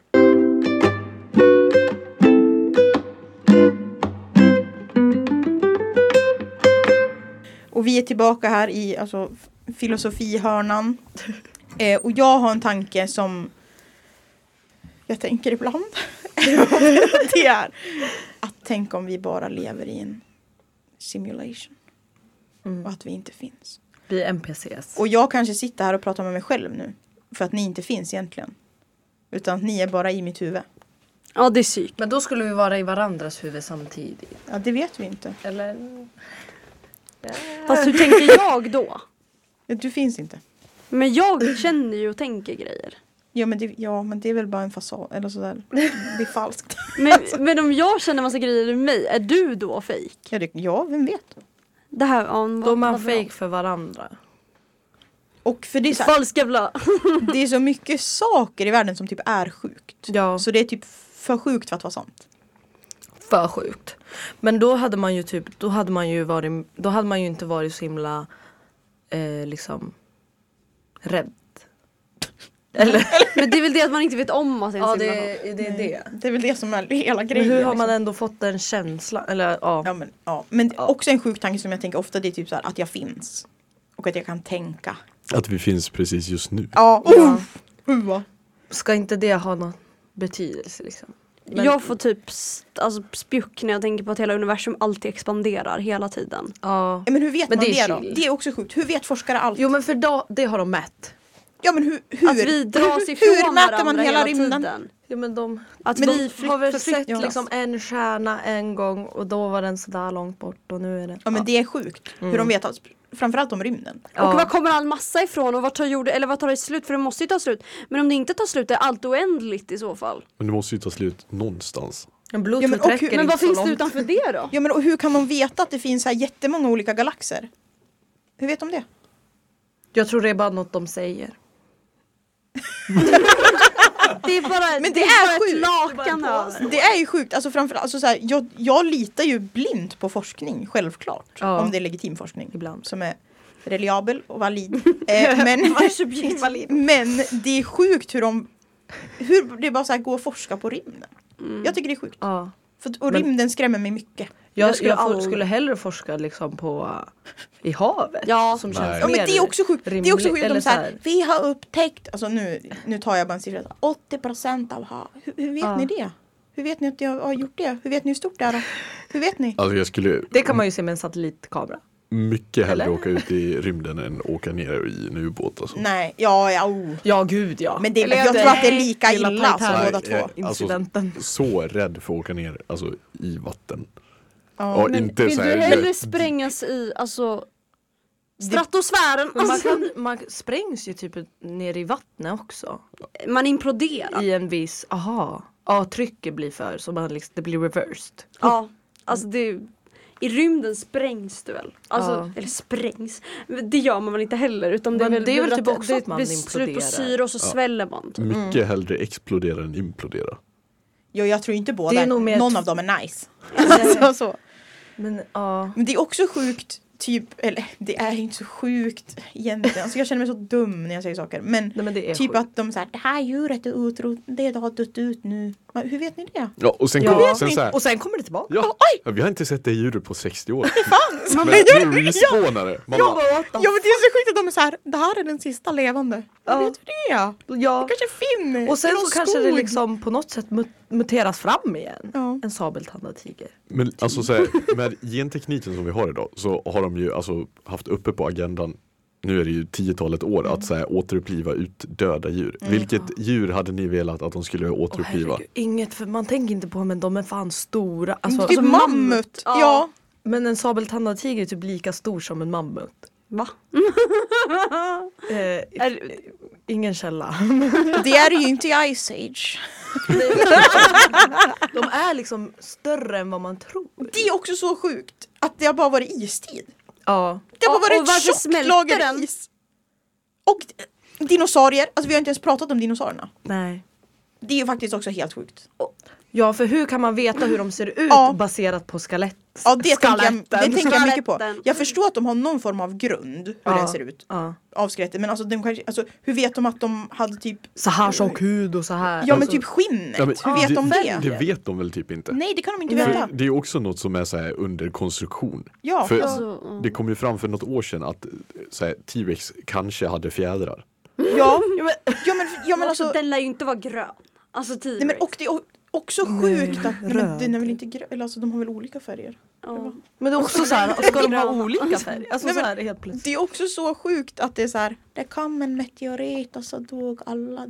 S3: Och vi är tillbaka här i alltså, f- filosofihörnan. Eh, och jag har en tanke som jag tänker ibland. det är att tänk om vi bara lever i en simulation. Och att vi inte finns.
S4: Vi är NPCs.
S3: Och jag kanske sitter här och pratar med mig själv nu. För att ni inte finns egentligen. Utan att ni är bara i mitt huvud.
S5: Ja, det är psyk.
S4: Men då skulle vi vara i varandras huvud samtidigt.
S3: Ja, det vet vi inte.
S4: Eller?
S5: Fast hur tänker jag då?
S3: Du finns inte.
S5: Men jag känner ju och tänker grejer.
S3: Ja, men det, ja, men det är väl bara en fasad. Eller sådär. Det är falskt.
S5: Men, men om jag känner massa grejer i mig, är du då fejk?
S3: Ja, det, ja vem vet?
S5: Det här, ja, vad,
S4: Då är man
S5: vad bra.
S4: fake för varandra.
S3: Och för det är, så här,
S5: Falsk jävla...
S3: det är så mycket saker i världen som typ är sjukt.
S4: Ja.
S3: Så det är typ för sjukt för att vara sant.
S4: För sjukt. Men då hade man ju typ, då hade man ju varit, då hade man ju inte varit så himla eh, liksom rädd. Eller?
S5: Men det är väl det att man inte vet om att ens himla bra.
S4: det är det.
S3: Eh, Det är väl det som är hela
S4: Men
S3: grejen.
S4: hur har man
S3: liksom.
S4: ändå fått den känslan? Eller ja.
S3: Ja, men, ja. men också en sjuk tanke som jag tänker ofta det är typ så här att jag finns. Och att jag kan tänka.
S6: Att vi finns precis just nu.
S3: Ja,
S4: Ja.
S3: uh, uh.
S4: Ska inte det ha någon betydelse liksom? Men-
S5: Jag får typ st- alltså, spjuck när jag tänker på att hela universum alltid expanderar hela tiden.
S4: Ja.
S3: Ja, Men hur vet
S4: Men
S3: man
S4: det
S3: det,
S4: är
S3: då?
S4: chill.
S3: Det är också sjukt. Hur vet forskare allt?
S4: Jo men för då, det har de mätt.
S3: Ja men hur? hur?
S5: Att vi dras
S3: hur,
S5: ifrån
S3: hur mäter man
S5: varandra
S3: hela rymden?
S5: tiden.
S4: Jo men de
S5: Att
S3: Men
S5: vi
S3: de
S5: flytt-
S4: har väl
S5: förflyttas.
S4: sett liksom en stjärna en gång och då var den sådär långt bort och nu är den...
S3: Ja men det är sjukt. Hur de vet allt. Framförallt om rymden.
S4: Ja.
S5: Och var kommer all massa ifrån och vart tar, jord, eller vart tar det slut? För det måste ju ta slut. Men om det inte tar slut är allt oändligt i så fall.
S6: Men det måste ju ta slut någonstans.
S4: En
S3: Ja,
S4: bluetooth
S3: men och hur-
S4: räcker
S5: Men
S4: inte
S5: vad
S4: så
S5: finns
S4: långt.
S5: det utanför det då?
S3: Ja men och hur kan de veta att det finns så här jättemånga olika galaxer? Hur vet de det?
S4: Jag tror det är bara något de säger.
S5: Det är bara,
S3: Men
S5: det är bara ett lakan
S4: Det är bara en påse.
S5: över.
S3: Det är ju sjukt. Alltså framförallt, alltså så här, jag, jag litar ju blint på forskning, självklart.
S4: Ja.
S3: Om det är legitim forskning.
S4: Ibland.
S3: Som är reliabel och valid. eh, men, men det är sjukt hur de... Hur det bara så här går att forska på rymden. Jag tycker det är sjukt.
S4: Ja.
S3: För, att- och
S4: Men-
S3: rymden skrämmer mig mycket.
S5: Jag
S4: Jag,
S5: skulle
S4: jag, skulle, jag
S5: aldrig-
S4: skulle hellre forska liksom på i havet.
S5: Ja.
S4: som
S6: Nej.
S4: känns
S3: Ja men
S4: mer
S3: det är också sjukt. Det är också
S4: rimligt,
S3: sjukt
S4: eller
S3: om så
S4: så
S3: här,
S4: här.
S3: vi har upptäckt, alltså nu, nu tar jag bara en siffra, så här, 80% av hav. Hur, hur vet
S4: Ja.
S3: ni det? Hur vet ni att jag har gjort det? Hur vet ni hur stort det är då? Hur vet ni?
S6: Alltså jag skulle
S4: Det kan man ju se med en satellitkamera.
S6: mycket hellre
S4: Eller?
S6: åka ut i rymden än åka ner i en ubåt. Alltså.
S3: Nej, ja, ja, oh.
S4: Ja gud ja.
S3: Men det,
S4: Eller
S3: jag
S4: det-
S3: tror att det är lika
S4: Lilla
S3: illa som
S4: Titanic.
S3: båda
S6: Nej,
S3: två.
S6: jag- Alltså-
S4: Incidenten.
S6: Så rädd för att åka ner alltså, i vatten.
S3: Ja.
S6: Ja,
S5: Men
S6: inte
S5: vill
S6: så
S5: du
S6: här,
S5: hellre sprängas i alltså stratosfären?
S4: Men man,
S5: Alltså,
S4: kan, man sprängs ju typ ner i vattnet också.
S5: man imploderar.
S4: I en viss, aha. Ja trycket blir för så man liksom, det blir reversed.
S5: Ja, alltså det är, I rymden sprängs du väl? Alltså,
S4: Ja.
S5: Eller sprängs, det gör man väl inte heller? Utan det är
S4: Men
S5: väl,
S4: det är väl typ
S5: att
S4: också
S5: det
S4: att man
S5: blir slut på
S4: imploderar.
S5: syre och så sväller man. Typ.
S6: Mycket hellre explodera än implodera.
S3: Jo, jag tror inte båda,
S4: Det är nog mer
S3: någon
S4: ett-
S3: av dem är nice. alltså, så.
S4: Men ja.
S3: Men det är också sjukt, typ, eller det är ju inte så sjukt egentligen. Alltså, jag känner mig så dum när jag säger saker. Men,
S4: Nej men det är
S3: typ
S4: sjukt.
S3: att de säger det här djuret är utrot, det har dött ut nu. Men Hur vet ni det?
S6: Ja, och sen,
S4: Ja.
S6: kom,
S4: Vet
S6: sen
S3: ni-
S6: så här,
S4: Och sen kommer det tillbaka.
S6: ja, ja, vi har inte sett det djuret på 60 år.
S3: Man,
S6: Men
S3: bara,
S6: det är respawnare. Man
S4: Jag
S6: bara,
S4: bara what the
S3: ja, men det är så sjukt att de är så här, det här är den sista levande.
S4: Ja.
S3: Hur vet du det?
S4: f- ja.
S3: Det kanske är Finn.
S4: Och sen
S3: eller
S4: så
S3: någon
S4: kanske det
S3: skog.
S4: liksom på något sätt mut- muteras fram igen.
S3: Ja.
S4: En sabeltandad tiger.
S6: men alltså så här, med gentekniken som vi har idag så har de ju alltså haft uppe på agendan nu är det ju tiotalet år att så här, återuppliva utdöda djur. Vilket djur hade ni velat att de skulle
S4: Åh,
S6: återuppliva?
S4: herregud, inget för man tänker inte på men de är fan stora. Alltså,
S3: Typ mammut. Ja.
S5: Ja.
S4: men en sabeltandad tiger är typ lika stor som en mammut.
S5: Va?
S4: Eh,
S5: Är,
S4: ingen källa.
S3: Det är ju inte i Ice Age.
S4: De är liksom större än vad man tror.
S3: Det är också så sjukt att det har bara varit istid.
S4: Ja.
S3: Det har
S5: Ja,
S3: bara
S5: och
S3: varit ett
S5: varför
S3: tjockt
S5: smälter
S3: lager
S5: den?
S3: is. Och d- dinosaurier, alltså vi har inte ens pratat om dinosaurierna.
S4: Nej.
S3: Det är ju faktiskt också helt sjukt.
S4: Ja för hur kan man veta hur de ser ut
S3: Ja.
S4: baserat på skelett?
S3: Ja det tänker jag, det
S4: skeletten.
S3: tänker jag mycket på.
S5: Skeletten.
S3: Jag förstår att de har någon form av grund hur
S4: Ja.
S3: den ser ut
S4: Ja.
S3: av skelettet men alltså, de kanske, alltså hur vet de att de hade typ
S4: Så här tjock hud och så här.
S3: Ja men
S4: Alltså,
S3: typ skinnet,
S6: Ja, men
S3: hur vet
S6: det-
S3: de det?
S6: Det vet de väl typ inte?
S3: Nej det kan de inte
S4: Nej.
S3: veta.
S6: För det är också något som är så här under konstruktion.
S3: Ja,
S6: för
S5: alltså, mm.
S6: Det kom ju fram för något år sedan att eh, så här, T-Rex kanske hade fjädrar.
S3: Ja, ja men, ja, men alltså,
S5: den lär ju inte vara grön. Alltså T-rex.
S3: nej, men, och det är o- också sjukt att nej, men, den är väl inte grön, eller alltså de har väl olika färger?
S5: ja.
S4: Men det är också så här, ska de ha
S5: Gröna.
S4: olika färger? Alltså
S3: Nej,
S4: så
S3: men-
S4: här helt plötsligt.
S3: Det är också så sjukt att det är så här. Det kom en meteorit och så dog alla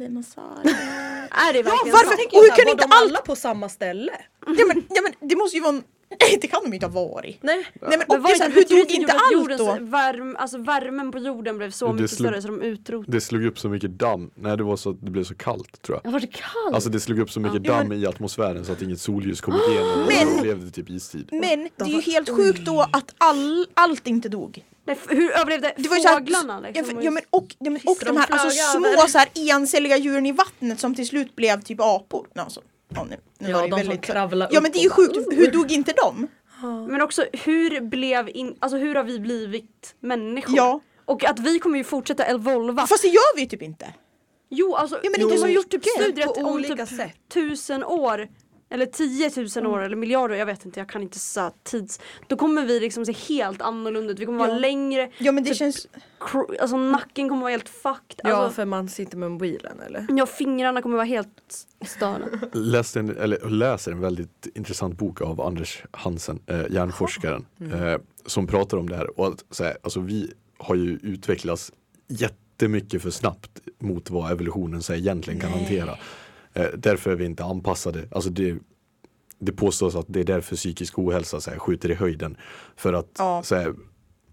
S3: dinosaurier.
S5: Är det verkligen
S3: varför-
S5: sant?
S3: tänker jag Och hur så här, kan var inte de alla
S4: på samma ställe?
S3: ja, men, ja men det måste ju vara en... det kan de ju inte ha varit.
S4: Nej.
S3: Nej men,
S5: Men
S3: och
S5: var
S3: det är så här, hur dog inte allt då?
S5: Värm, alltså värmen på jorden blev så
S6: Det
S5: mycket
S6: slog-
S5: större så de utrotade.
S6: Det slog upp så mycket damm. Nej det var så att det blev så kallt tror jag.
S5: Ja, var det kallt?
S6: Alltså det slog upp så mycket
S3: Ja, men-
S6: damm i atmosfären så att inget solljus kom igenom. och
S3: Men-
S6: Då blev det typ istid.
S3: Men det är ju helt sjukt då att all, allt inte dog.
S5: Nej, f- hur överlevde
S3: Det var ju så här-
S5: fåglarna? Liksom,
S3: Ja,
S5: var
S3: för,
S5: ju
S3: ja, men, och, ja, men, och
S4: de
S3: de här
S4: flög
S3: alltså,
S4: över.
S3: små så här, encelliga djuren i vattnet som till slut blev typ apor. Nej, Alltså, ja, nu, nu
S4: Ja,
S3: var det ju
S4: de som
S3: väldigt-
S4: kravlar
S3: Ja
S4: upp
S3: men det är
S4: och
S3: ju
S4: bara-
S3: sjukt, hur dog inte de?
S5: Men också hur blev in, alltså hur har vi blivit människor?
S3: Ja.
S5: Och att vi kommer ju fortsätta evolva.
S3: Fast det gör vi ju typ inte.
S5: Jo alltså
S3: Ja, men
S5: de
S3: inte
S5: har
S3: så
S5: gjort typ
S3: mycket.
S5: studier att
S4: På
S5: om
S4: olika
S5: typ
S4: sätt.
S5: tusen år eller 10 000 år eller miljarder, jag vet inte, jag kan inte säga tids. Då kommer vi liksom se helt annorlunda ut, vi kommer vara
S3: Ja.
S5: längre,
S3: Ja men det
S5: Typ-
S3: känns...
S5: cro- alltså nacken kommer vara helt fucked.
S4: Ja
S5: Alltså,
S4: för man sitter med mobilen eller?
S5: ja, fingrarna kommer vara helt störda.
S6: läste en, eller läser en väldigt intressant bok av Anders Hansen, eh, hjärnforskaren, eh, som pratar om det här. Och att, så här alltså, vi har ju utvecklats jättemycket för snabbt mot vad evolutionen så här, egentligen kan hantera. Eh, därför är vi inte anpassade. Alltså, det, det påstås att det är därför psykisk ohälsa så här, skjuter i höjden. För att
S3: Ja.
S6: så här,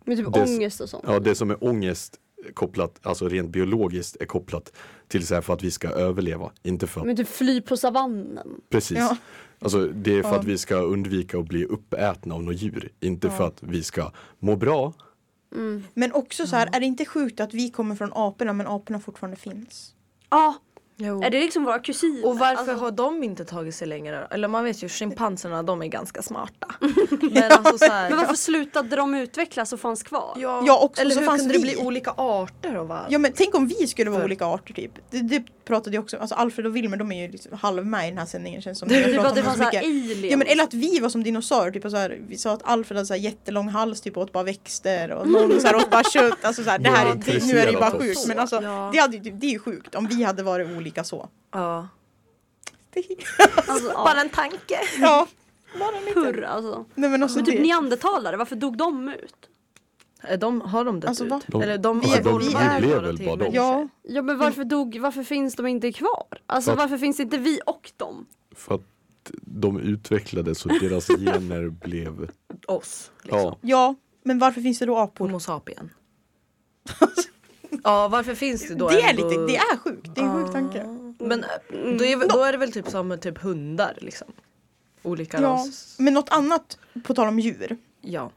S5: Med typ
S6: Det-
S5: ångest och sånt.
S6: Ja, det som är ångest kopplat, alltså rent biologiskt är kopplat till så här för att vi ska överleva, inte för att,
S5: typ fly på savannen.
S6: precis.
S3: Ja.
S6: Alltså det är för
S3: Ja.
S6: att vi ska undvika att bli uppätna av något djur, inte för
S3: Ja.
S6: att vi ska må bra.
S3: Men också så här, är det inte sjukt att vi kommer från aporna men aporna fortfarande finns?
S5: Ja,
S4: Jo.
S5: Är det liksom våra kusiner?
S4: Och varför
S5: Alltså,
S4: har de inte tagit sig längre då? Eller man vet ju schimpanserna de är ganska smarta. Men alltså så här,
S5: Men varför slutade de utvecklas och fanns kvar?
S4: ja,
S3: Ja, också
S4: Eller
S3: så
S4: hur
S3: fanns
S4: kunde det
S3: vi.
S4: bli olika arter och vad?
S3: Ja men tänk om vi skulle vara
S4: För-
S3: olika arter typ. Det, det pratade jag också om. Alltså Alfred och Wilmer de är ju liksom halv med i den här sändningen känns som. Jag
S5: Typ
S3: pratar
S5: att
S3: om
S5: det
S3: dem
S5: fanns
S3: så
S5: såhär
S3: mycket.
S5: aliens.
S3: Ja men eller att vi var som dinosaurier, typ och så här, vi sa att Alfred hade så här jättelång hals typ och åt bara växter och någon så här åt bara kött. Alltså så här, det här, är- det, nu är det ju bara
S6: Intresserat
S3: sjukt
S4: oss.
S3: men alltså
S4: Ja.
S3: det, hade, ju typ- det är ju sjukt om vi hade varit olika så.
S4: Ja.
S5: alltså, ja,
S4: Bara en tanke.
S3: Ja,
S5: purr alltså.
S3: nej men alltså
S5: Men typ
S3: det.
S5: neandertalare, varför dog de ut?
S4: Är De, har de dött
S3: Alltså, va?
S4: ut? Eller de,
S3: Vi-
S4: de,
S3: vi
S4: är
S3: är-
S6: lever
S4: några
S6: väl
S4: till
S6: bara de.
S4: människor.
S3: Ja,
S5: Ja men varför, dog, varför finns de inte kvar? Alltså
S6: För-
S5: varför finns inte vi och dem?
S6: För att de utvecklades och deras gener blev...
S4: Oss. Liksom.
S6: Ja.
S3: ja men varför finns det då apor?
S4: Homo sapien. ja varför finns det då?
S3: Det är
S4: ändå-
S3: lite, det är mm, sjukt, det är en sjuk tanke.
S4: Men eh, då är, väl- då är det väl typ som med typ hundar liksom? Olika
S3: Ja,
S4: ras.
S3: men något annat på tal om djur.
S4: Ja.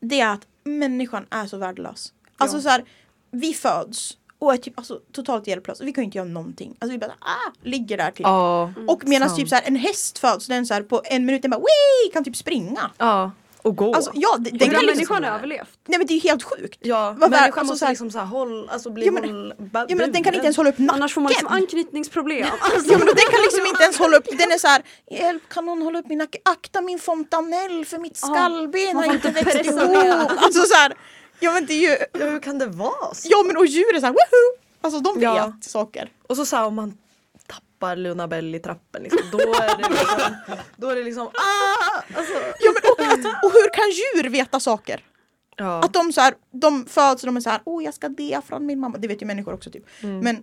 S3: det är att människan är så värdelös. Alltså så här, vi föds och är typ alltså, totalt hjälplösa. Vi kan ju inte göra någonting. Alltså vi bara ah, ligger där typ.
S4: Ja.
S3: och medan
S4: sant.
S3: typ så här, en häst föds, den så här, på en minut den bara Wii! kan typ springa.
S4: Ja. Och gå.
S3: Alltså ja, det, den
S5: Hur har
S3: kan liksom,
S5: människan överlevt?
S3: nej men det är ju helt sjukt.
S4: ja,
S3: vad-
S4: människan
S3: alltså
S4: måste
S3: så här-
S4: liksom så här håll, alltså bli
S3: Ja, men-
S4: håll,
S3: Ja men den kan inte ens hålla upp nacken.
S5: Annars får man liksom anknytningsproblem. Alltså,
S3: Ja, men den kan liksom inte ens hålla upp, den är så här, hjälp kan någon hålla upp min nacke? Akta min fontanell för mitt
S5: Ja,
S3: skallben
S5: man får
S3: har inte
S5: inte
S3: växt
S5: pressa
S3: ihop. Alltså så här, ja men det är ju,
S4: Ja, hur kan det vara så?
S3: ja men och djur är så här, woho! Alltså de vet
S4: Ja.
S3: saker.
S4: Och så såhär om man tappar Luna Bell i trappen liksom, då är det liksom, då är det liksom ah! Alltså,
S3: Ja, men och, att, och hur kan djur veta saker?
S4: ja.
S3: Att de, så här, de föds och de är så här, åh jag ska det från min mamma. Det vet ju människor också typ.
S5: Mm.
S3: Men,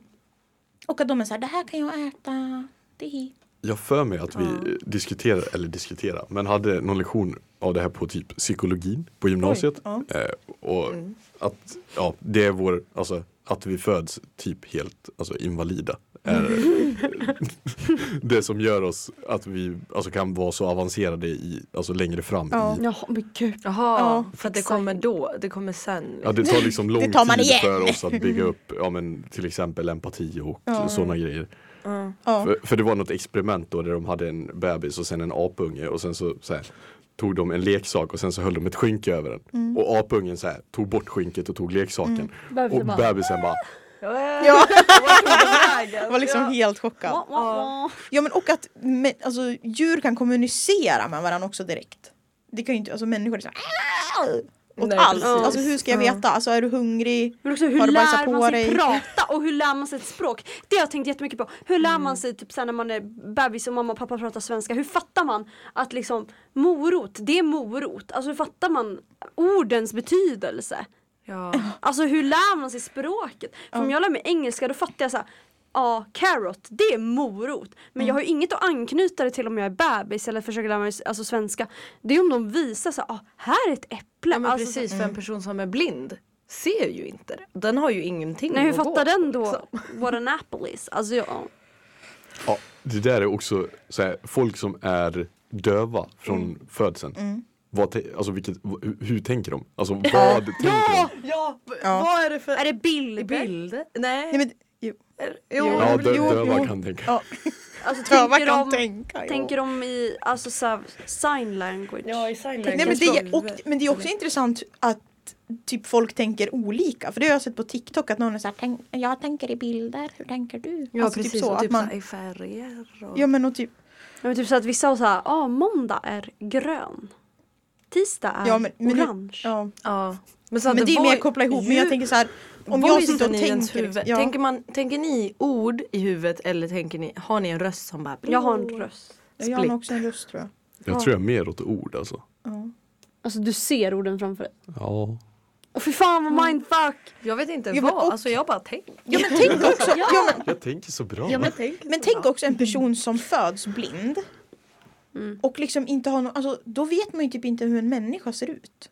S3: och att de är så här, det här kan jag äta. Det är
S6: Jag för mig att vi eh, diskuterade, eller diskuterade, men hade någon lektion av det här på typ psykologin på gymnasiet.
S3: ja. Mm.
S6: Eh, och att, ja, det är vår, alltså att vi föds typ helt alltså, invalida. Är det som gör oss att vi alltså, kan vara så avancerade i, alltså, längre fram.
S3: Ja.
S6: I,
S5: Ja men gud.
S4: Jaha,
S3: Ja,
S4: för att det kommer då, det kommer sen.
S6: ja, det tar liksom lång
S3: tar man
S6: tid
S3: igen.
S6: för oss att bygga upp ja, men, till exempel empati och
S3: Ja.
S6: sådana grejer.
S3: Ja.
S6: För, för det var något experiment då där de hade en bebis och sen en apunge och sen så, så här, tog de en leksak och sen så höll de ett skynke över den.
S3: Mm.
S6: Och apungen så här, tog bort skynket och tog leksaken.
S5: Bebisen
S6: Och
S5: bara-
S6: bebisen bara
S3: Ja. Jag var liksom helt chockad.
S5: Wah, wah, wah.
S3: Ja men och att men, alltså, djur kan kommunicera med varandra också direkt. Det kan ju inte, alltså människor är så här, "Åh!" åt
S4: Nej,
S3: allt.
S4: precis.
S3: Alltså hur ska jag veta? Alltså är du hungrig?
S5: Men också hur
S3: Har du bajsat
S5: lär
S3: på
S5: man sig
S3: dig?
S5: prata och hur lär man sig ett språk? Det har jag tänkt jättemycket på. Hur lär
S3: Mm.
S5: man sig typ sen när man är bebis och mamma och pappa pratar svenska? Hur fattar man att liksom morot, det är morot? Alltså hur fattar man ordens betydelse?
S4: Ja.
S5: Alltså hur lär man sig språket? För om jag lär mig engelska då fattar jag så här, ja carrot det är morot. Men
S3: Mm.
S5: jag har ju inget att anknyta det till om jag är bebis eller försöker lära mig alltså, svenska. Det är om de visar så här, ah, här är ett äpple.
S4: Ja, men
S5: alltså,
S4: precis, för en person som är blind ser ju inte det. Den har ju ingenting
S5: Nej hur
S4: att gå
S5: fattar den
S4: på,
S5: då
S4: liksom.
S5: what an apple is? Alltså jag, ja.
S6: ja, Det där är också så här, folk som är döva från
S3: Mm.
S6: födseln. Vad te- alltså vilket, hur, hur tänker de? Alltså vad tänker de?
S4: Ja, v-
S3: Ja.
S4: vad är det för
S5: Är det bilder?
S4: bild?
S3: Nej,
S4: Nej.
S3: men, jo.
S4: jo.
S3: Jo.
S6: Ja, dö-
S3: Jo,
S6: döva
S3: jo.
S6: kan tänka.
S3: Ja.
S5: Alltså,
S3: Töva
S5: tänker,
S3: kan
S5: de,
S3: tänka. ja.
S5: tänker de i alltså, så här, sign language?
S4: Ja, i sign
S3: Nej, men,
S4: language.
S3: det är, och, men det är också intressant att typ folk tänker olika. För det har jag sett på TikTok att någon är såhär, "Tänk- jag tänker i bilder, hur tänker du?
S4: Ja
S3: Alltså,
S4: precis,
S3: typ så,
S4: och
S3: att
S4: typ
S3: man,
S4: så här, i färger och...
S3: ja men och typ,
S5: Ja, men typ så att vissa har så här, ah, måndag är grön. Tisdag är
S3: ja men, men
S5: orange.
S3: Ja.
S4: Ja. Men, så att
S3: Men det är
S4: var
S3: mer koppla ihop, men
S4: ju-
S3: jag tänker såhär, om
S4: voicen
S3: jag sitter och
S4: i ens
S3: tänker,
S4: huvud.
S3: ja,
S4: Tänker, man, tänker ni ord i huvudet eller tänker ni, har ni en röst som bara
S5: Jag har en röst.
S3: jag har nog också en röst tror jag.
S6: Jag tror jag är mer åt ord alltså.
S3: Ja.
S5: Alltså du ser orden framför dig.
S6: Ja.
S5: Åh fy fan vad mindfuck!
S4: Jag vet inte
S3: Ja, men
S4: vad,
S3: och-
S4: alltså jag bara tänker.
S3: Ja men tänk också, ja, men,
S6: Jag tänker så bra.
S4: Ja,
S6: va?
S4: men tänk,
S3: men tänk också en person som föds blind. Och liksom inte har någon, alltså då vet man ju typ inte hur en människa ser ut.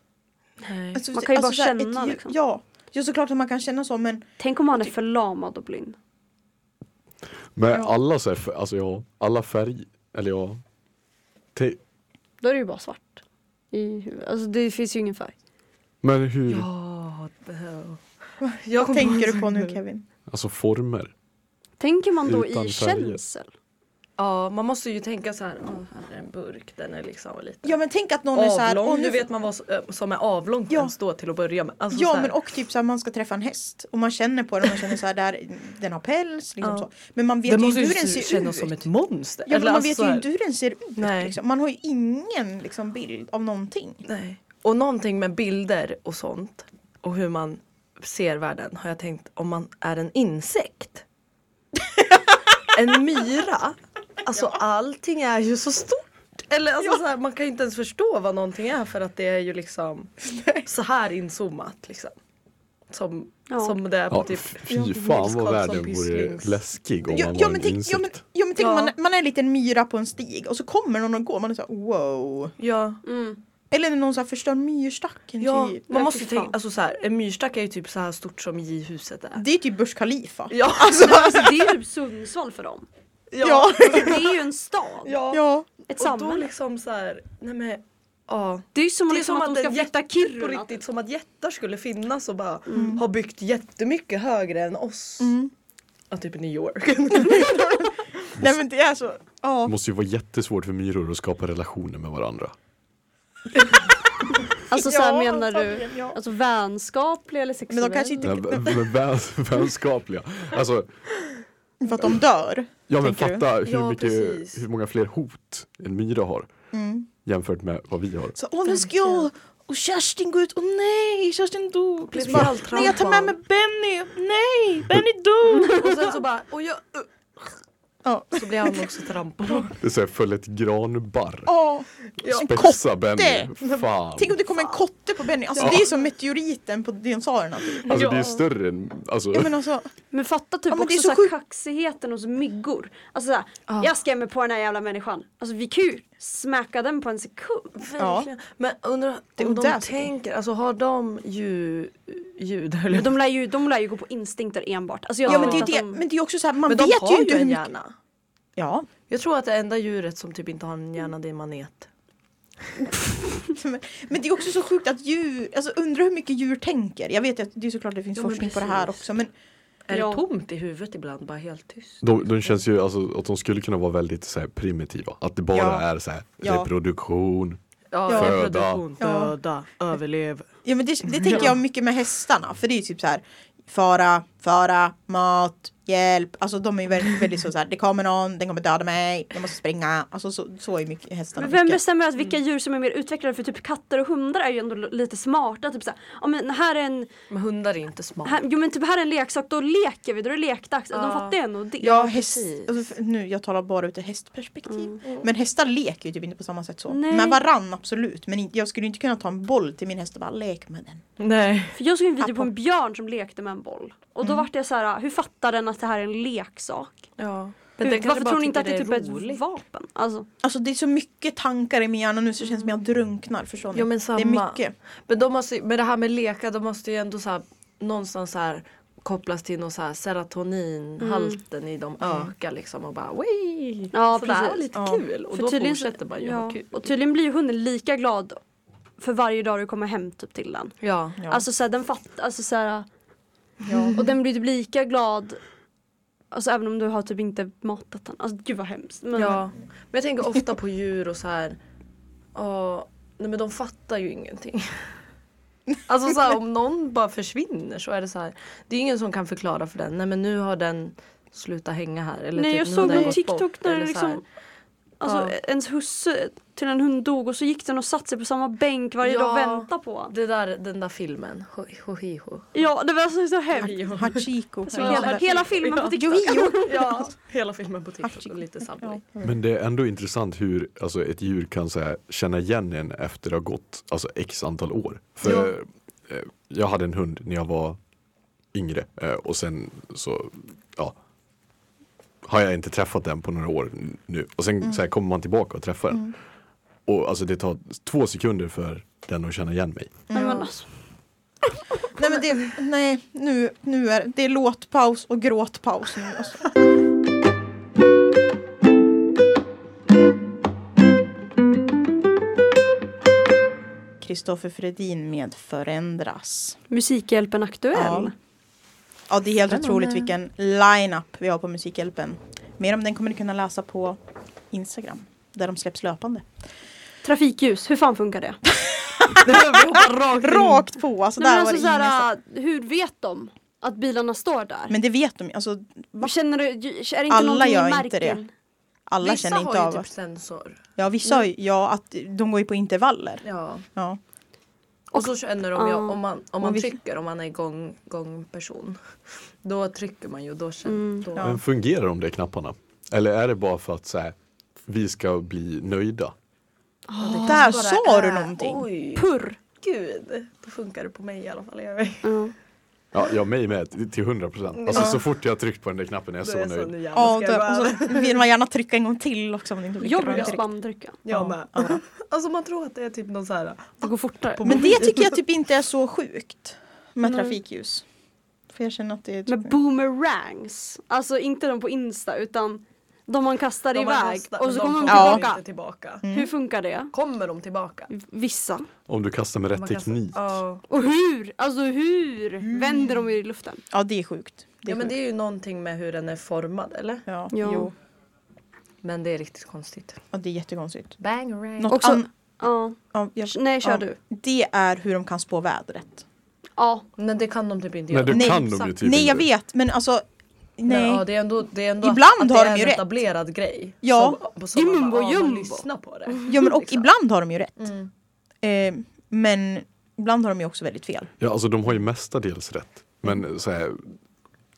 S4: Nej.
S3: Alltså,
S5: Man kan ju bara
S3: så här,
S5: känna,
S3: ett djur-
S5: liksom.
S3: Ja, ja såklart att man kan känna så men
S5: Tänk om han är förlamad och blind.
S6: Men
S3: Ja.
S6: alla så här, f- alltså ja, alla färg, eller ja. Te-
S5: Då är det ju bara svart. I huvudet. Alltså det finns ju ingen färg.
S6: men hur,
S4: Ja, det-
S3: Vad tänker du på nu Kevin?
S6: alltså former.
S5: Tänker man då
S6: Utan
S5: i
S6: färger.
S5: känsel?
S4: Ja, man måste ju tänka så här. Åh, här är en burk, den är liksom lite
S3: Ja men tänk att någon är
S4: avlång.
S3: så här, åh, nu-
S4: nu vet man vad som- eh, som är avlång
S3: Ja.
S4: ja. står till att börja med. Alltså, så
S3: Ja
S4: här,
S3: men och typ så här, man ska träffa en häst och man känner på den och man känner så här, där, den har päls liksom
S4: Ja.
S3: så. Men man vet
S4: den
S3: ju
S4: måste
S3: inte
S4: ju
S3: hur den ser ut.
S4: kännas som ett monster.
S3: Ja, men man
S4: alltså
S3: vet
S4: så
S3: ju
S4: här-
S3: inte hur den ser ut.
S4: Nej.
S3: Liksom. Man har ju ingen liksom, bild av någonting.
S4: Nej. Och någonting med bilder och sånt och hur man ser världen har jag tänkt om man är en insekt. en myra. Alltså allting är ju så stort. Eller alltså, så här, man kan ju inte ens förstå vad någonting är för att det är ju liksom så här inzoomat liksom. Som,
S5: Ja.
S4: som det är på
S6: Ja,
S4: typ
S6: fy fan vad världen vore
S4: Pysslings.
S6: läskig om
S3: Ja,
S6: man
S3: ja,
S6: var
S3: men
S6: en
S3: tänk, ja, men,
S6: insekt.
S3: ja men tänk
S4: Ja.
S3: man, man är lite en myra på en stig och så kommer någon och går man är så här, wow.
S4: Ja,
S3: Eller när någon så här, förstör myrstacken
S4: ja
S3: typ.
S4: man
S5: Ja,
S4: måste
S5: fy
S4: ju tänka,
S5: fan.
S4: alltså så här, en myrstack är ju typ så här stort som J-huset är.
S3: Det är typ Burj Khalifa.
S4: Ja,
S5: Nej, men alltså, det är ju Sundsvall för dem.
S3: Ja.
S5: Alltså, det är ju en stad.
S4: ja.
S3: ja.
S5: Ett
S4: Och då
S5: samhälle.
S4: liksom så här, nej men ja.
S5: Det är ju som,
S4: Det är
S5: liksom
S4: som
S5: att
S4: att
S5: de ska
S4: en Alltså,
S5: flytta
S4: jätte På
S5: Kiruna.
S4: riktigt som att jättar skulle finnas och bara ha byggt jättemycket högre än oss. Ja, typ New York.
S3: Nej men det är så.
S6: Det
S3: Ja.
S6: måste ju vara jättesvårt för myror att skapa relationer med varandra.
S5: Alltså så här,
S3: Ja,
S5: menar du
S3: antagligen, ja.
S5: alltså, vänskapliga eller
S3: Men
S5: sexuella?
S3: de kanske inte,
S6: Nej, men- men vän- Vänskapliga. Alltså,
S3: för att de dör.
S6: ja men
S3: Tänker du?
S6: fatta hur,
S4: Ja,
S6: mycket,
S4: precis.
S6: hur många fler hot en myra har
S3: Mm.
S6: jämfört med vad vi har.
S3: Så åh nu ska jag och Kerstin gå ut, åh nej Kerstin dog.
S4: Blev
S3: Liksom bara,
S4: helt
S3: nej jag tar med
S4: trampad.
S3: mig Benny, nej Benny dog.
S4: och sen så bara, och jag, uh,
S3: Ja.
S4: så blir han också trampad.
S6: Det är så här, föll ett granbarr.
S3: Ja. En
S6: Spexa
S3: kotte.
S6: Benny. Fan.
S3: Tänk om det kommer en kotte på Benny. Alltså
S6: Ja.
S3: det är som meteoriten på dinosaurierna. Typ.
S6: Alltså det är
S4: Ja.
S6: ju större än, alltså.
S3: Ja men alltså.
S5: Men fatta typ
S3: Ja, men det är
S5: också
S3: så
S5: så
S3: sjukt.
S5: här, kaxigheten hos myggor. Alltså såhär, jag skrämmer på den här jävla människan. Alltså vi kan ju smäcka den på en sekund.
S3: Ja.
S4: Verkligen. Men undrar
S3: Det är
S4: om de
S3: audacity.
S4: tänker, alltså har de ju, ljud höll
S5: Men
S4: jag på
S5: de lär ju, de lär ju gå på instinkter enbart. Alltså, jag
S3: Ja
S5: tror
S3: men det är
S5: inte
S3: det,
S5: att de-
S3: men det är också så här, man
S4: att- Men de
S3: vet
S4: har
S3: ju
S4: ju,
S3: inte hur
S4: en
S3: mycket.
S4: hjärna.
S3: Ja.
S4: Jag tror att det enda djuret som typ inte har en hjärna det är manet.
S3: Men det är också så sjukt att djur, alltså undrar hur mycket djur tänker. Jag vet att det är såklart det finns
S4: Ja, men
S3: forskning på det här
S4: precis.
S3: också men
S4: Är
S5: Ja.
S4: det tomt i huvudet ibland, bara helt tyst?
S6: De, de känns ju alltså att de skulle kunna vara väldigt så här, primitiva. Att det bara
S3: Ja.
S6: är så här,
S3: Ja.
S6: reproduktion.
S4: Ja,
S3: Ja.
S4: reproduktion,
S3: Ja.
S4: döda, överlev.
S3: Ja men det, det tänker jag mycket med hästarna för det är ju typ så här fara, fara, mat, hjälp. Alltså de är ju väldigt, väldigt så, så här det kommer någon, den kommer döda mig, jag måste springa. Alltså så, så är mycket hästarna.
S5: Men vem
S3: mycket.
S5: bestämmer att
S3: Mm.
S5: vilka djur som är mer utvecklade? För typ katter och hundar är ju ändå lite smarta. Typ såhär, ja men här är en,
S4: Men hundar är inte smarta.
S5: här, jo men typ här är en leksak, då leker vi, då är det lekdags.
S4: Ja.
S5: De fattar ju ändå det.
S3: Ja, häst,
S4: precis. Mm.
S3: alltså, för- nu, jag talar bara ur ett hästperspektiv. Men hästar leker ju typ inte på samma sätt så.
S5: Nej.
S3: Med varann absolut. Men in- jag skulle ju inte kunna ta en boll till min häst och bara lek med den.
S4: Nej.
S5: För jag såg en video på
S3: Pappa.
S5: en björn som lekte med en boll. Och
S4: Mm.
S5: då vart jag så här, hur fattar den att det här är en leksak?
S4: Ja.
S5: Hur, varför tror ni inte att det är typ ett
S4: roligt?
S5: vapen? Alltså,
S3: Alltså det är så mycket tankar i min hjärna nu så det känns som jag drunknar. Förstår ni?
S4: Ja, Mm. men
S3: Det
S4: samma.
S3: är mycket.
S4: Men de måste, ju- med det här med leka, de måste ju ändå så här, någonstans så här kopplas till någon så här serotoninhalten i dem ökar liksom och bara Wii!
S5: Mm. Ja,
S4: Sådär,
S5: precis.
S4: lite
S3: Ja.
S4: kul och
S5: För
S4: då
S5: tydligen så-
S4: fortsätter man ju ha
S5: ja.
S4: kul.
S5: Och tydligen blir ju hunden lika glad för varje dag du kommer hem typ till den.
S4: Ja.
S3: Ja.
S5: Alltså såhär, den fattar, alltså såhär,
S3: Ja.
S5: och den blir typ lika glad Alltså även om du har typ inte matat den. Alltså gud vad hemskt. Men,
S4: ja. Men jag tänker ofta på djur och så här ja, nej men de fattar ju ingenting. Alltså så här, om någon bara försvinner så är det så här. Det är ingen som kan förklara för den. Nej men nu har den slutat hänga här. Eller
S5: Nej
S4: typ,
S5: jag
S4: nu
S5: såg
S4: har den
S5: på
S4: gått
S5: TikTok
S4: bort,
S5: när
S4: eller
S5: det
S4: så här.
S5: liksom Alltså
S4: Ja.
S5: ens husse till en hund dog och så gick den och satte sig på samma bänk varje
S4: Ja.
S5: dag och väntade på honom.
S4: Det där, den där filmen. Ho, ho, hi, ho.
S5: Ja det var så, så hemskt.
S3: Hachiko.
S5: Så hela, hela filmen på TikTok.
S4: Ja, hela filmen på TikTok
S3: Artikel.
S4: och lite Subway.
S3: Mm.
S6: Men det är ändå intressant hur alltså, ett djur kan så här, känna igen en efter det har gått alltså, x antal år. För eh, jag hade en hund när jag var yngre eh, och sen så ja, har jag inte träffat den på några år n- nu. Och sen
S3: Mm.
S6: så här, kommer man tillbaka och träffar den. Och alltså, det tar två sekunder för den att känna igen mig.
S5: Nej,
S3: mm.
S5: men alltså,
S3: Nej men det, nej nu, nu är det är låtpaus och gråtpaus nu alltså. Kristoffer Fredin med Förändras.
S5: Musikhjälpen Aktuell.
S3: Ja. Ja, det är helt
S4: Spännande.
S3: otroligt vilken line-up vi har på Musikhjälpen. Mer om den kommer ni kunna läsa på Instagram, där de släpps löpande.
S5: Trafikljus, hur fan funkar det?
S4: Rakt in.
S3: Rakt på! Alltså,
S5: Nej,
S3: där
S5: men,
S3: var
S5: alltså,
S3: det
S5: så
S3: ingen som-
S5: här, hur vet de att bilarna står där?
S3: men det vet de ju. Alltså, va?
S5: Känner du, är det inte
S3: Alla
S5: någonting i
S3: gör inte
S5: märken?
S3: alla
S4: Vissa
S3: känner inte
S4: har
S3: av.
S4: ju typ sensor.
S3: Ja, vissa har ju, ja, att de går ju på intervaller.
S4: Ja.
S3: Ja.
S4: Och så känner de ju,
S5: Ja.
S4: om man, om man
S3: vi-
S4: trycker, om man är gång, gångperson. Då trycker man ju och då känner då.
S3: Ja.
S6: Men fungerar de där knapparna? Eller är det bara för att så här, vi ska bli nöjda?
S4: Ja,
S3: Där
S4: kanske
S3: sa
S4: bara
S3: du
S4: är-
S3: någonting.
S4: Oj,
S5: Purr.
S4: gud. Då funkar det på mig i alla fall. Jag vet.
S6: Ja, jag mig med till 100 procent. Alltså
S3: Ja.
S6: så fort jag har tryckt på den där knappen är jag
S4: Då
S6: så
S4: är jag så,
S6: nöjd.
S4: nu
S3: Ja, typ. Alltså,
S4: jävlar
S3: och
S4: ska jag
S3: då-
S4: bara.
S3: och så vill man gärna trycka en gång till också. Om det inte blir
S5: Jag
S3: grönt
S5: brukar
S3: tryck.
S5: spamdricka.
S4: Jag med. Alltså man tror att det är typ någon så här.
S5: Det går fortare.
S3: Men det
S4: Mm.
S3: tycker jag typ inte är så sjukt med trafikljus. För jag känner att det är
S5: Med
S3: typ...
S5: boomerangs. Alltså inte de på Insta utan de man kastar
S4: de har
S5: iväg
S4: kastat,
S5: och
S4: men
S5: så kommer de
S3: kommer
S5: tillbaka.
S4: inte tillbaka.
S3: Mm.
S5: Hur funkar det?
S4: Kommer de tillbaka?
S5: Vissa.
S6: Om du kastar med rätt
S4: Man kastar-
S6: teknik.
S4: Ja.
S5: Och hur? Alltså hur?
S3: Mm.
S5: Vänder de i luften?
S3: Ja, det är sjukt. Det är
S4: ja men det
S3: sjukt.
S4: är ju någonting med hur den är formad eller?
S3: Ja,
S5: Ja.
S3: Jo.
S4: Men det är riktigt konstigt.
S3: ja, det är jättekonstigt.
S4: Bang rang.
S3: Något
S5: Också-
S3: an-
S5: Ja.
S3: ja, jag-
S5: Nej kör
S3: ja.
S5: du.
S3: Det är hur de kan spå vädret.
S5: Ja.
S4: Men det kan de typ inte
S6: Nej,
S4: göra.
S6: du
S3: Nej,
S6: kan de
S4: exakt.
S6: ju typ
S3: nej, jag
S6: inte.
S3: vet, men alltså... Nej.
S4: Men, ja, det är ändå, det är ändå
S3: Ibland
S4: att, att
S3: har de
S4: det är
S3: ju
S4: en
S3: rätt.
S4: etablerad grej.
S3: Ja.
S4: Som, som man
S5: Jumbo
S4: bara, ja, man
S5: jumbo.
S4: lyssnar på det.
S3: Ja men och
S4: Liksom.
S3: ibland har de ju rätt.
S4: Mm.
S3: Eh, men ibland har de ju också väldigt fel.
S6: Ja, alltså de har ju mestadels rätt. Men eh, så här,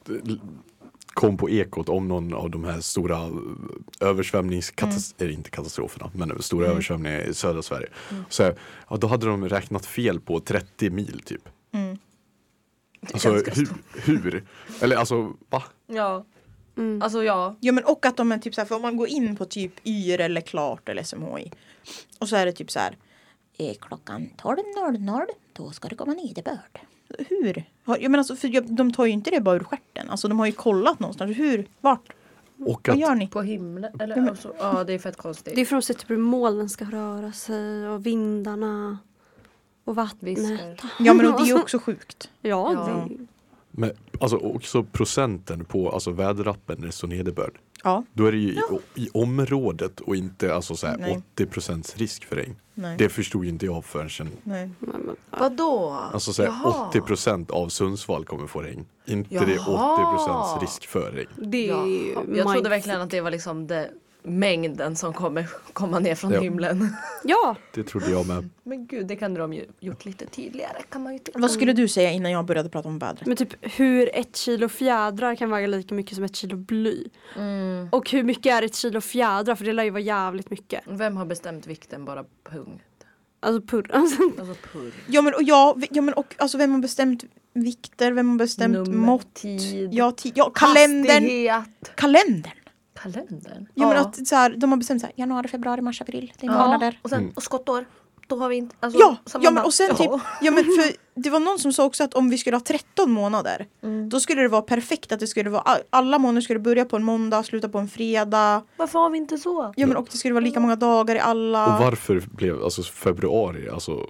S6: l- kom på ekot om någon av de här stora eh,
S3: Mm.
S6: översvämningskatastroferna, eller inte katastroferna, men eh, stora översvämningar i södra Sverige.
S3: Mm.
S6: Så här, ja, då hade de räknat fel på 30 mil typ.
S3: Mm.
S6: Alltså
S4: Ganska
S6: hur, hur? Eller alltså va?
S4: Ja.
S6: Mm.
S4: Alltså ja.
S3: Ja men och att de är typ såhär, för om man går in på typ YR eller Klart eller SMHI. Och så är det typ så här. "Eh, Klockan 12.00 då ska det komma nederbörd. Hur? Har- Jag menar alltså, för jag- de tar ju inte det bara ur stjärten. Alltså de har ju kollat någonstans. Hur? Vart?
S6: Och
S3: Vad
S6: att
S3: gör ni?
S4: På himlen.
S3: Mm.
S4: Eller, alltså, ja det är fett konstigt.
S5: Det är för att de ser typ hur molnen ska röra sig och vindarna. Och vattnet.
S4: Viskar.
S3: Ja men och det är ju också sjukt.
S5: Ja.
S4: Ja.
S5: Det,
S6: Men alltså också procenten på alltså väderappen när det står nederbörd.
S3: Ja.
S6: Då är det ju i, i området och inte alltså så här
S3: Nej.
S6: 80 risk för regn.
S3: Nej.
S6: Det förstod ju inte jag förrän
S3: Nej.
S5: Nej, men,
S4: Vadå?
S6: alltså så här 80 av Sundsvall kommer få regn. Inte det
S4: Jaha.
S6: 80 risk för regn.
S5: det är ju
S4: Jag trodde
S5: mindfuck.
S4: verkligen att det var liksom det, mängden som kommer komma ner från
S6: Ja.
S4: himlen.
S5: Ja.
S6: Det trodde jag med.
S4: Men gud, det kunde de ju gjort lite tydligare kan man ju tycka.
S3: Vad skulle du säga innan jag började prata om vädret?
S5: Men typ hur ett kilo fjädrar kan väga lika mycket som ett kilo bly.
S4: Mm.
S5: Och hur mycket är ett kilo fjädrar? För det lär ju vara jävligt mycket.
S4: Vem har bestämt vikten bara punkt?
S5: Alltså purr. Alltså,
S4: Alltså purr.
S3: Ja men och ja, ja men och alltså vem har bestämt vikter? Vem har bestämt
S4: Nummer,
S3: mått?
S4: tid,
S3: ja, ti- ja, kalendern.
S4: Hastighet.
S3: kalendern.
S4: Kalendern?
S3: Ja, men att så här, de har bestämt så här, januari, februari, mars, april. Det är
S4: Ja.
S3: månader.
S4: Och sen och skottår. Då har vi inte... Alltså,
S3: Ja, ja
S4: så man
S3: men
S4: bara,
S3: och sen
S4: ja.
S3: typ, ja men för det var någon som sa också att om vi skulle ha 13 månader
S4: Mm.
S3: då skulle det vara perfekt att det skulle vara all- alla månader skulle börja på en måndag, sluta på en fredag.
S4: Varför har vi inte så?
S3: Ja men och det skulle vara lika många dagar i alla.
S6: Och varför blev alltså februari alltså,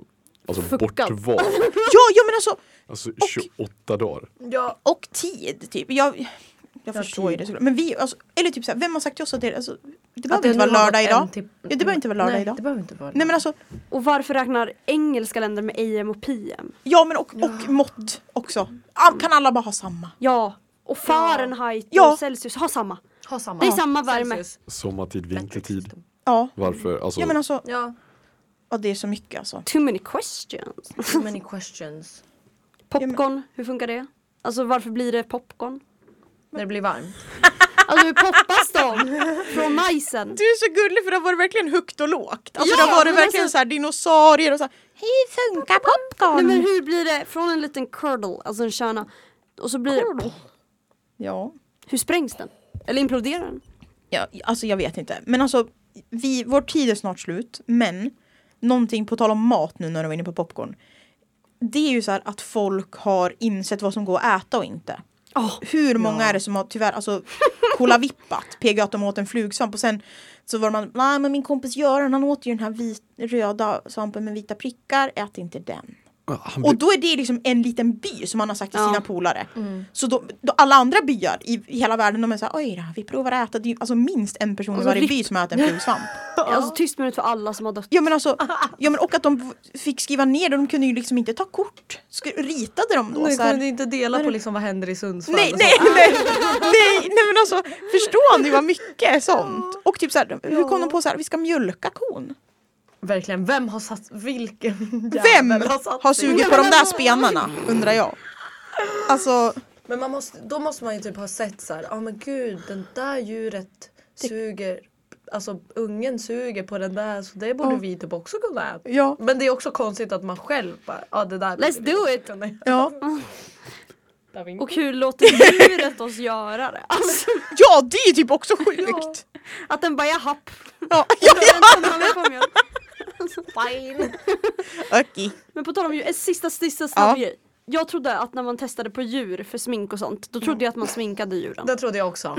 S6: alltså
S5: Fuckat.
S6: bortvald?
S3: Ja, ja men alltså
S6: Alltså 28 dagar.
S4: Ja.
S3: och tid typ. Jag, jag förstår ju det såklart. Men vi, alltså, eller typ så här, vem har sagt till oss att det, alltså, det behöver inte
S4: nu
S3: vara
S4: har
S3: lördag
S4: gått en
S3: idag.
S4: till-
S3: Ja, det behöver inte vara lördag
S4: Nej,
S3: idag.
S4: det behöver inte vara
S3: Nej men alltså,
S5: och varför räknar engelska länder med AM och PM?
S3: ja men och, och mått också. Ah, Kan alla bara ha samma?
S5: Ja. Och Fahrenheit
S3: Ja.
S5: och Celsius har samma.
S4: Ha samma.
S5: Det är samma värme.
S4: Celsius.
S6: Sommartid, vintertid.
S3: Ja.
S6: Varför? Alltså,
S3: Ja men alltså,
S4: Ja.
S3: ja, det är så mycket alltså.
S5: Too many questions.
S4: Too many questions.
S5: Popcorn, hur funkar det? Alltså varför blir det popcorn?
S4: När det blir varmt.
S5: Alltså hur poppas de? Från majsen?
S3: Du är så gullig för det har varit verkligen högt och lågt. Alltså
S5: Ja,
S3: det har varit
S5: men
S3: verkligen
S5: alltså-
S3: så här dinosaurier och så här, Hej funkar
S5: Nej
S3: popcorn?
S5: men hur blir det från en liten curdle, alltså en kärna, och så blir det...
S3: Ja.
S5: Hur sprängs den? Eller imploderar den?
S3: ja, alltså jag vet inte. Men alltså, vi, vår tid är snart slut. Men någonting på tal om mat nu när de var inne på popcorn. Det är ju så här att folk har insett vad som går att äta och inte.
S5: Ja.
S3: Hur många är det som har tyvärr alltså kolavippat, PGA att de åt en flugsvamp och sen så var man, nej men min kompis Göran han åt ju den här vit, röda svampen med vita prickar, ät inte den.
S6: Han
S3: Och då är det liksom en liten by som han har sagt till
S5: Ja. Mm.
S3: sina polare. Så då, då alla andra byar i, i hela världen de är såhär oj då, vi provar att äta. Det är ju alltså minst en person i
S5: Alltså,
S3: varje by
S5: rikt-
S3: som äter en fulsvamp.
S5: Alltså tyst minut för alla som har dött.
S3: Ja men alltså, ja men och att de v- fick skriva ner det, de kunde ju liksom inte ta kort. Sk ritade de då
S4: Nu
S3: såhär?
S4: kunde du inte dela på liksom vad händer i Sundsvall
S3: Nej,
S4: och så.
S3: nej, nej, nej, nej men alltså förstår ni vad mycket sånt? Och typ såhär, hur kom de på såhär, vi ska mjölka kon?
S4: Verkligen, vem har satt, vilken
S3: Vem
S4: jävel har satt
S3: har
S4: sig?
S3: sugit på de där spenarna undrar jag. Alltså,
S4: Men man måste, då måste man ju typ ha sett så här, ja men gud den där djuret suger, alltså ungen suger på den där så det borde vi typ också kunna äta.
S3: ja.
S4: Men det är också konstigt att man själv bara, ja det där
S5: Let's do it!
S3: Ja.
S5: Och hur låter djuret oss göra det? Alltså,
S3: ja, det är ju typ också sjukt.
S5: att den bara jag happ.
S3: Ja, ja,
S5: Den tummen med på mjölk.
S4: Fine.
S3: ja. Okej.
S5: Men på tal om djur, en sista, sista
S3: Ja.
S5: snabb grej. Jag trodde att när man testade på djur för smink och sånt, då trodde jag att man sminkade djuren.
S4: Det trodde jag också.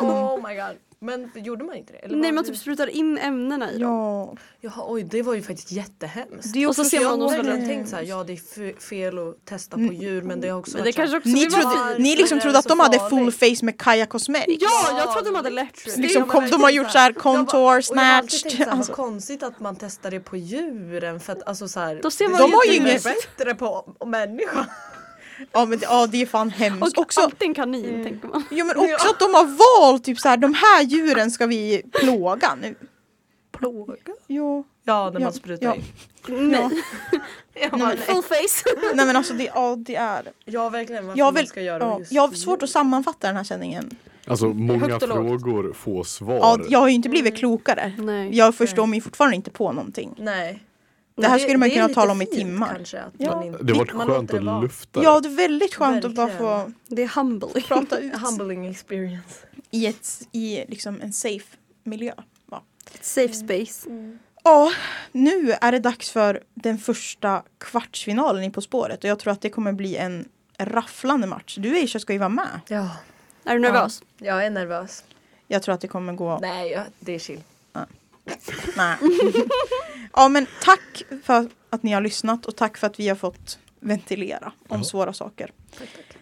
S4: Oh my god. Men gjorde man inte det? Eller
S5: Nej
S4: var
S5: man
S4: det-
S5: typ sprutar in ämnena i dem.
S3: Mm. Ja.
S4: Jaha oj det var ju faktiskt jättehemskt.
S3: Det är
S5: Och så
S3: också
S5: ser man
S4: Jag har
S5: dem som
S4: verkligen
S5: väldigt-
S4: tänkt såhär, ja det är f- fel att testa på djur men det har också
S5: Mm. Men det
S4: varit så här-
S5: kanske också
S3: Ni,
S5: vi var
S3: trodde,
S5: fina.
S3: ni liksom
S4: Det
S3: trodde
S4: är
S3: att
S4: så
S3: de hade full
S4: farligt.
S3: face med Kaja Cosmetics.
S5: Ja, jag trodde de hade läppstift.
S3: Liksom
S4: Ja, men
S3: kom- de
S4: verkligen
S3: har gjort
S4: här.
S3: så här
S4: Jag bara-
S3: contour,
S4: och jag har alltid
S3: snatched,
S4: tänkt så här,
S3: alltså.
S4: Vad konstigt att man testar det på djuren för att alltså så här,
S5: Då ser man
S3: De har ju
S5: jättemycket
S3: inget-
S5: bäst.
S4: typ bättre på människan.
S3: Ja, men det, ja, det är fan hemskt.
S5: Och
S3: Också,
S5: alltid en kanin tänker
S4: Mm.
S5: man.
S3: jo, men också att de har valt typ så här, de här djuren ska vi plåga nu.
S5: Plåga?
S3: Jo.
S4: Ja, när
S3: Ja,
S4: man sprutar
S3: ja.
S4: in.
S5: Nej.
S4: Jag, bara,
S3: men-
S4: nej.
S5: Full face.
S3: Nej men alltså det, ja, det är.
S4: jag har verkligen varför
S3: Jag,
S4: man
S3: vill,
S4: ska göra
S3: ja,
S4: just
S3: jag har svårt att sammanfatta den här känningen.
S6: Alltså många
S5: Högt och lågt.
S6: frågor, få svar.
S3: Ja, jag har ju inte
S4: Mm.
S3: blivit klokare.
S5: Nej.
S3: Jag förstår mig fortfarande inte på någonting.
S4: Nej.
S3: Det här skulle man
S4: det är
S3: kunna
S4: lite
S3: tala om i
S4: fint
S3: timmar.
S4: Kanske, att
S3: Ja.
S4: man inte,
S6: Det har varit
S4: man
S6: skönt
S4: låter det vara.
S6: att lufta
S3: Ja,
S6: det.
S3: det är väldigt skönt att bara få
S4: Verkligen.
S5: Det är humbling.
S3: prata ut
S4: Humbling experience.
S3: i, ett, i liksom en safe miljö. va?
S5: Safe
S4: Mm.
S5: space.
S3: Ja, nu är det dags för den första kvartsfinalen i På spåret och jag tror att det kommer bli en rafflande match. Du Aisha ska ju vara med.
S4: Ja,
S5: Är du nervös?
S4: jag är nervös.
S3: Jag tror att det kommer gå...
S4: Nej, jag, det är chill.
S3: Nej. ja, men tack för att ni har lyssnat och tack för att vi har fått ventilera om svåra saker.
S4: Tack, tack.